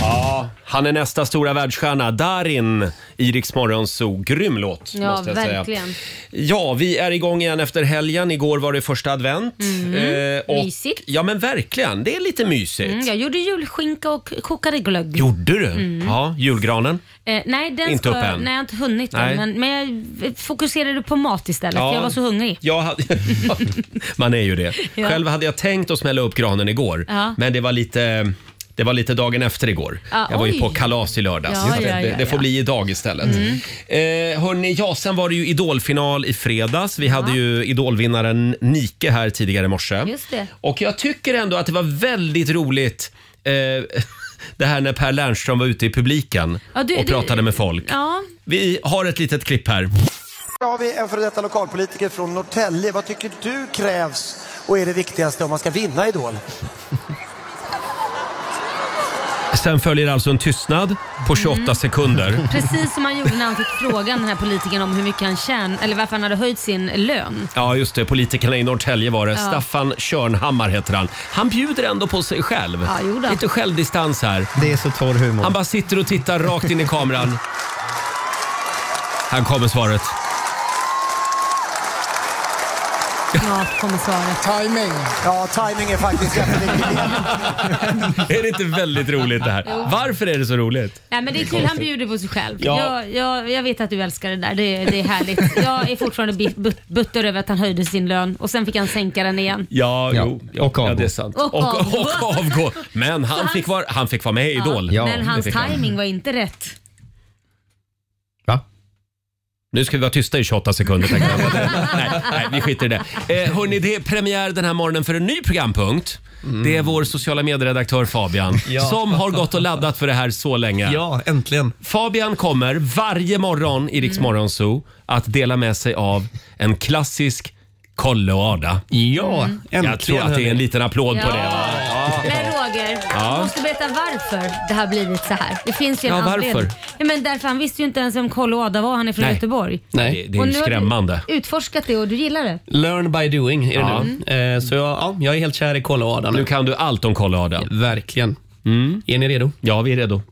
Ja, han är nästa stora världsstjärna. Darin i Rix Morgon Zoo. Grym låt,
Ja,
måste jag säga.
verkligen.
Ja, vi är igång igen efter helgen. Igår var det första advent. Eh,
Mm.
och,
Mysigt.
Ja, men verkligen. Det är lite mysigt.
Mm, jag gjorde julskinka och kokade glögg.
Gjorde du?
Mm.
Ja, julgranen.
Eh, nej, den
Inte
ska,
upp än.
Nej, jag har inte hunnit
Nej.
än. Men, men jag fokuserade på mat istället.
Ja.
Jag var så hungrig.
Jag hade,
*laughs*
man är ju det.
Ja.
Själv hade jag tänkt att smälla upp granen igår,
Ja.
men det var lite... Det var lite dagen efter igår.
Ah,
jag var ju
oj.
på kalas i lördags.
Ja,
så
ja,
det,
ja,
det
ja.
får bli idag istället.
Mm.
Eh, hörni, ja, sen var det ju idolfinal i fredags. Vi hade ju idolvinnaren Nike här tidigare i morse.
Just det.
Och jag tycker ändå att det var väldigt roligt eh, *laughs* det här när Per Lernström var ute i publiken
Ja, du-
och
du-
pratade med folk.
Ja.
Vi har ett litet klipp här.
Här har vi en före detta lokalpolitiker från Norrtälje. Vad tycker du krävs och är det viktigaste om man ska vinna Idol?
Sen följer alltså en tystnad på 28
Mm.
sekunder.
*laughs* Precis som han gjorde när han fick frågan den här politikern om hur mycket han tjän eller varför han hade höjt sin lön.
Ja, just det. Politikerna i Norrtälje var det.
Ja.
Staffan Körnhammar heter han. Han bjuder ändå på sig själv.
Ja, jo då.
Lite självdistans här.
Det är så torr humor.
Han bara sitter och tittar rakt in i kameran. Här kommer svaret. *laughs*
Ja, kommer svaret.
Timing. Ja, timing är faktiskt jätteviktigt.
är det inte väldigt roligt det här?
Jo.
Varför är det så roligt?
Nej, men det är kul, han bjuder på sig själv.
Ja.
Jag, jag, jag vet att du älskar det där, det, det är härligt. Jag är fortfarande bi- but- butter över att han höjde sin lön och sen fick han sänka den igen.
Ja, jo. Och avgå. Ja, det är sant.
Och
och,
avgå.
och avgå. Men han fick, vara, han fick vara med i Idol.
men
Det
hans
fick han.
timing var inte rätt.
Nu ska vi vara tysta i 28 sekunder. tänker jag. *laughs* nej, nej, vi skiter i det. Eh, hörni, det är premiär den här morgonen för en ny programpunkt. Det är vår sociala medieredaktör Fabian
Ja.
som har gått och laddat för det här så länge.
Ja, äntligen.
Fabian kommer varje morgon i
Mm.
Rix Morgon Zoo att dela med sig av en klassisk Kalle och Ada.
Ja, äntligen,
Jag tror att det är en
hörni.
liten applåd på
Mm. Ja.
det.
Men Roger,
Ja.
du måste berätta varför det har blivit så här. Det finns ju en
Ja, varför?
anledning. Ja, men därför han visste ju inte ens vem Karl och Ada var. Han är från
Nej.
Göteborg.
Nej. Det- det är
Och
ju
nu har du
skrämmande.
utforskat det och du gillar det.
Learn by doing är det
Ja. Mm.
nu. Eh, så jag, ja, jag är helt kär i Kolla och Ada nu.
kan du allt om Kolla och Ada.
verkligen. Är ni redo?
Ja, vi är redo.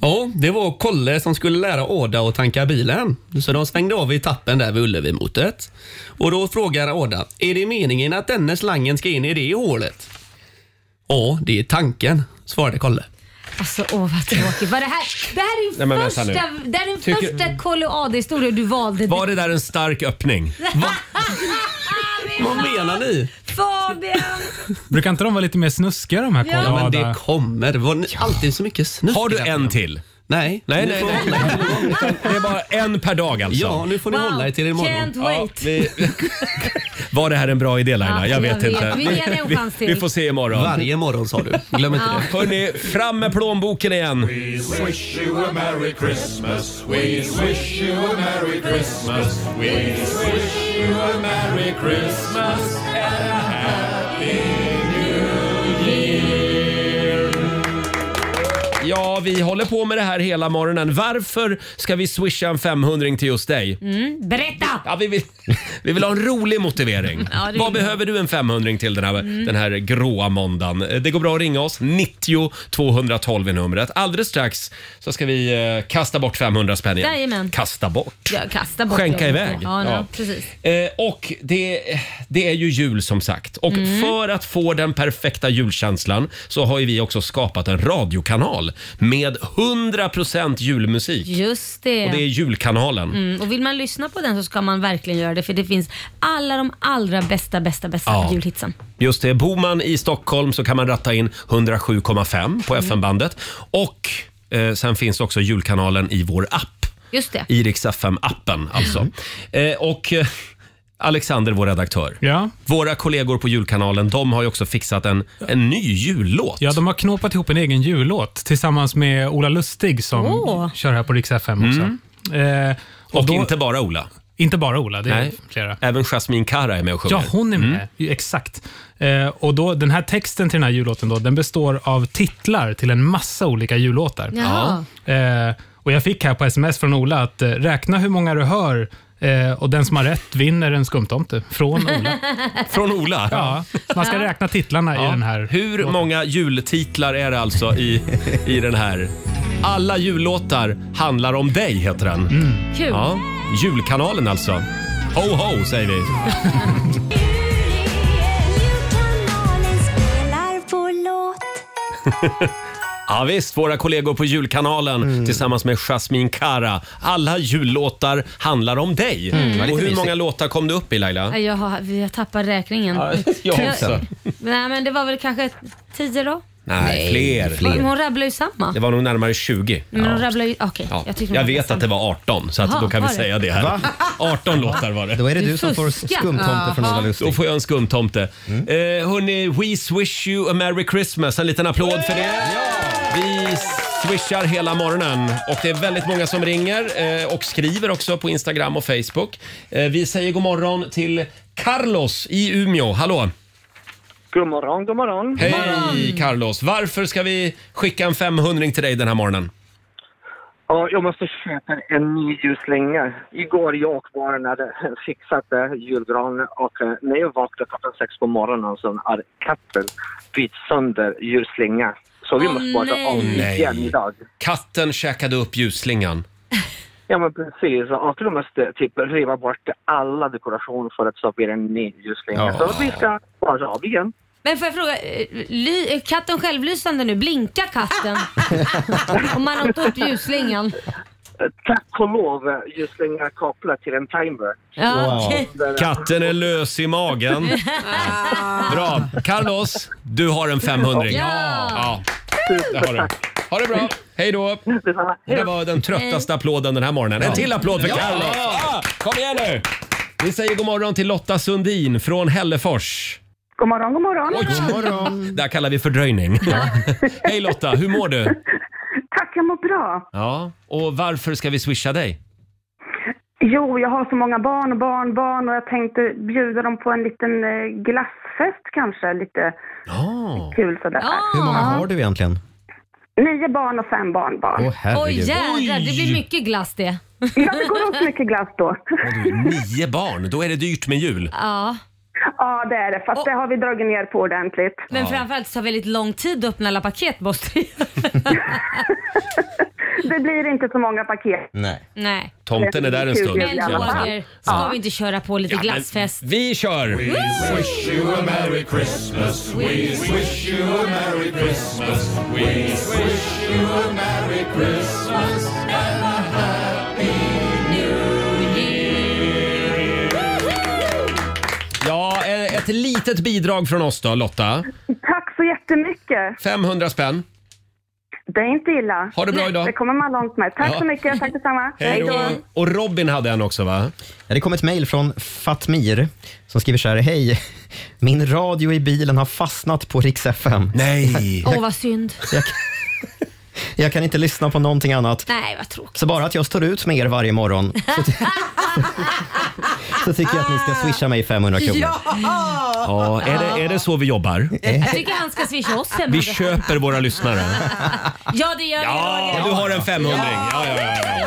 Ja, det var Kolle som skulle lära Ada att tanka bilen. Så de svängde av i tappen där vid Ullevi-motet. Och då frågar Ada, är det meningen att denne slangen ska in i det hålet? Ja, det är tanken, svarade Kolle.
Alltså åh vad tråkigt. Vad det här? Det här är
Nej,
din
men vänta
första,
nu.
det här är din
Tycker-
första Karl och Ada-historia du valde.
Var det där en stark öppning?
Vad menar ni?
Fabian!
Brukar inte de vara lite mer snuskiga de här
Ja.
Kolla
Ja, men
Ada?
det kommer. Det var ni- alltid så mycket snusk.
Har du en till?
Nej.
Nej,
Nu
nej,
får-
nej.
*laughs*
Det är bara en per dag alltså.
Ja, nu får ni Wow, hålla er till det imorgon. can't wait.
vi... *laughs* Var det här en bra idé Laila?
Ja,
jag
jag
vet
vet.
inte.
Vi ger det en chans
vi,
till.
vi får se imorgon.
Varje morgon sa du. Glöm inte det.
Ja.
Hörni, fram med plånboken igen.
Wish you a Merry Christmas. We wish you a Merry Christmas. We wish you a Merry Christmas and a Happy New Year.
Ja, vi håller på med det här hela morgonen. Varför ska vi swisha en 500 till just dig?
Mm, berätta!
Ja, vi, vill, vi vill ha en rolig motivering.
Ja, det
Vad
vill vi.
behöver du en 500 till den här,
Mm.
den här gråa måndagen? Eh, Det går bra att ringa oss. 90 212 är numret. Alldeles strax så ska vi eh, kasta bort 500 spänn igen.
Jajamän.
Kasta bort.
Jag kastar bort
Skänka
det.
iväg.
Ja,
Ja.
ja. precis.
Eh, och det, det är ju jul som sagt.
Mm.
Och för att få den perfekta julkänslan så har ju vi också skapat en radiokanal med 100% julmusik.
Just det.
Och det är julkanalen.
Mm, och vill man lyssna på den så ska man verkligen göra det för det finns alla de allra bästa, bästa, bästa
Ja.
julhitsen.
Just det, bor man i Stockholm så kan man ratta in 107,5 på
Mm.
FM-bandet. Och eh, sen finns också julkanalen i vår app.
Just det.
I Rix
Mm.
FM-appen alltså. Eh, och eh, Alexander, vår redaktör. Våra kollegor på julkanalen, de har ju också fixat en, en ny jullåt.
Ja, de har knåpat ihop en egen jullåt tillsammans med Ola Lustig som
Åh.
kör här på Rix FM också. Eh,
Mm. Och, inte bara Ola.
Inte bara Ola, det är
Nej.
flera.
Även Jasmine Kara är med och sjunger. Mm.
Ja, hon är med. Ju, Exakt. Eh, och då, den här texten till den här jullåten då, den består av titlar till en massa olika jullåtar.
Jaha.
Eh, och jag fick här på sms från Ola att eh, räkna hur många du hör eh, och den som har rätt vinner en skumtomte från
*laughs*
Ola.
*laughs*
Från Ola?
Ja, man ska räkna titlarna i
Ja.
den här.
Hur många jultitlar är det alltså i, i den här? Alla jullåtar handlar om dig, heter den.
Kul.
Ja, julkanalen alltså. Ho, ho, säger vi. Ja, visst, våra kollegor på julkanalen tillsammans med Jasmine Kara. Alla jullåtar handlar om dig.
Mm. Det var
Och
lite
hur många
mysigt.
låtar kom du upp i Laila?
Nej, Jag, har, jag tappar räkningen.
Ja, jag också.
Nej, men det var väl kanske tio då?
Nej, fler.
Hon rabblade ju samma.
Det var nog närmare 20.
Men hon rabblade ju... Okej,
Ja.
jag tyckte
Jag,
hon rabblade
vet att det var 18, så att
Jaha,
då kan vi
var det?
säga det här.
Va?
18 låtar var det.
Då är det Du du som får fuskar. skumtomte från Ola Lustig. Mm.
Då får jag en skumtomte. Eh, hörni, we swish you a merry Christmas. En liten applåd för det. Vi swishar hela morgonen och det är väldigt många som ringer eh, och skriver också på Instagram och Facebook. Eh, vi säger god morgon till Carlos i Umeå. Hallå!
God morgon, god morgon.
Hej Carlos! Varför ska vi skicka en 500 till dig den här morgonen?
Ja, jag måste köpa en ny ljuslänga. Igår jag och barnen hade fixat eh, julgranen och eh, när jag vaknade klockan sex på morgonen så hade katten bytt sönder ljuslängan. Så vi
Åh,
måste börja om
nej.
igen idag.
Katten käkade upp ljusslingan.
Ja men precis, och du måste typ riva bort alla dekorationer för att stoppa i en ny ljuslänga.
Ja.
Så vi ska börja av igen.
Men får jag fråga, eh, ly, är katten självlysande nu? Blinkar
*laughs*
katten? Om man har tagit upp ljusslingan?
Eh, Tack och lov eh, ljuslängan kopplad till en timer.
Ja, okej.
Katten är lös i magen. Bra. Carlos, du har en 500
Ja.
ja. Det har du. Ha det bra. Hej då. Det var den tröttaste applåden den här morgonen. En till applåd för
Ja.
Carlos. Ah, Kom igen nu. Vi säger god morgon till Lotta Sundin från Hällefors.
God morgon, god morgon.
Det här kallar vi fördröjning. *laughs* Hej Lotta, hur mår du?
Tack, jag mår bra.
Ja, och varför ska vi swisha dig?
Jo, jag har så många barn och barnbarn och jag tänkte bjuda dem på en liten eh, glassfest kanske. Lite kul sådär.
Hur många har du egentligen?
Nio barn och fem barnbarn.
Åh, herregud.
Oj jädrar, det blir
Oj.
mycket glass det.
Ja, det går åt mycket glass då.
Nio barn, då är det dyrt med jul.
Ja.
Ja, det är det. Fast det har vi dragit ner på ordentligt.
Men framförallt så tar det väldigt lång tid att öppna alla paket måste vi-
*laughs* Det blir inte så många paket.
Nej.
Nej.
Tomten är där en stund.
Men
i alla fall.
Roger, ska vi inte köra på lite
Ja, men
glassfest?
Vi kör!
Wish you a Merry Christmas. We wish you a Merry Christmas. We wish you a Merry Christmas and a Happy New Year.
Ja, eh, ett litet bidrag från oss då, Lotta.
Tack så jättemycket.
500 spänn.
Det är inte illa.
Ha det bra idag.
Det kommer man långt med. Tack
Ja.
så mycket. Tack detsamma.
Och Robin hade en också va?
Ja, det kom ett mejl från Fatmir som skriver så här. Hej, min radio i bilen har fastnat på Rix FM.
Nej!
Åh vad synd.
Jag kan inte lyssna på någonting annat.
Nej vad tråkigt.
Så bara att jag står ut med er varje morgon så,
*laughs*
ty- så tycker jag att ni ska swisha mig 500 kronor.
Ja, är det, är det så vi jobbar?
Jag tycker han ska swisha oss hemma.
Vi köper våra lyssnare.
Ja det gör vi
Ja,
Roger.
du har en 500 ja, ja, ja, ja.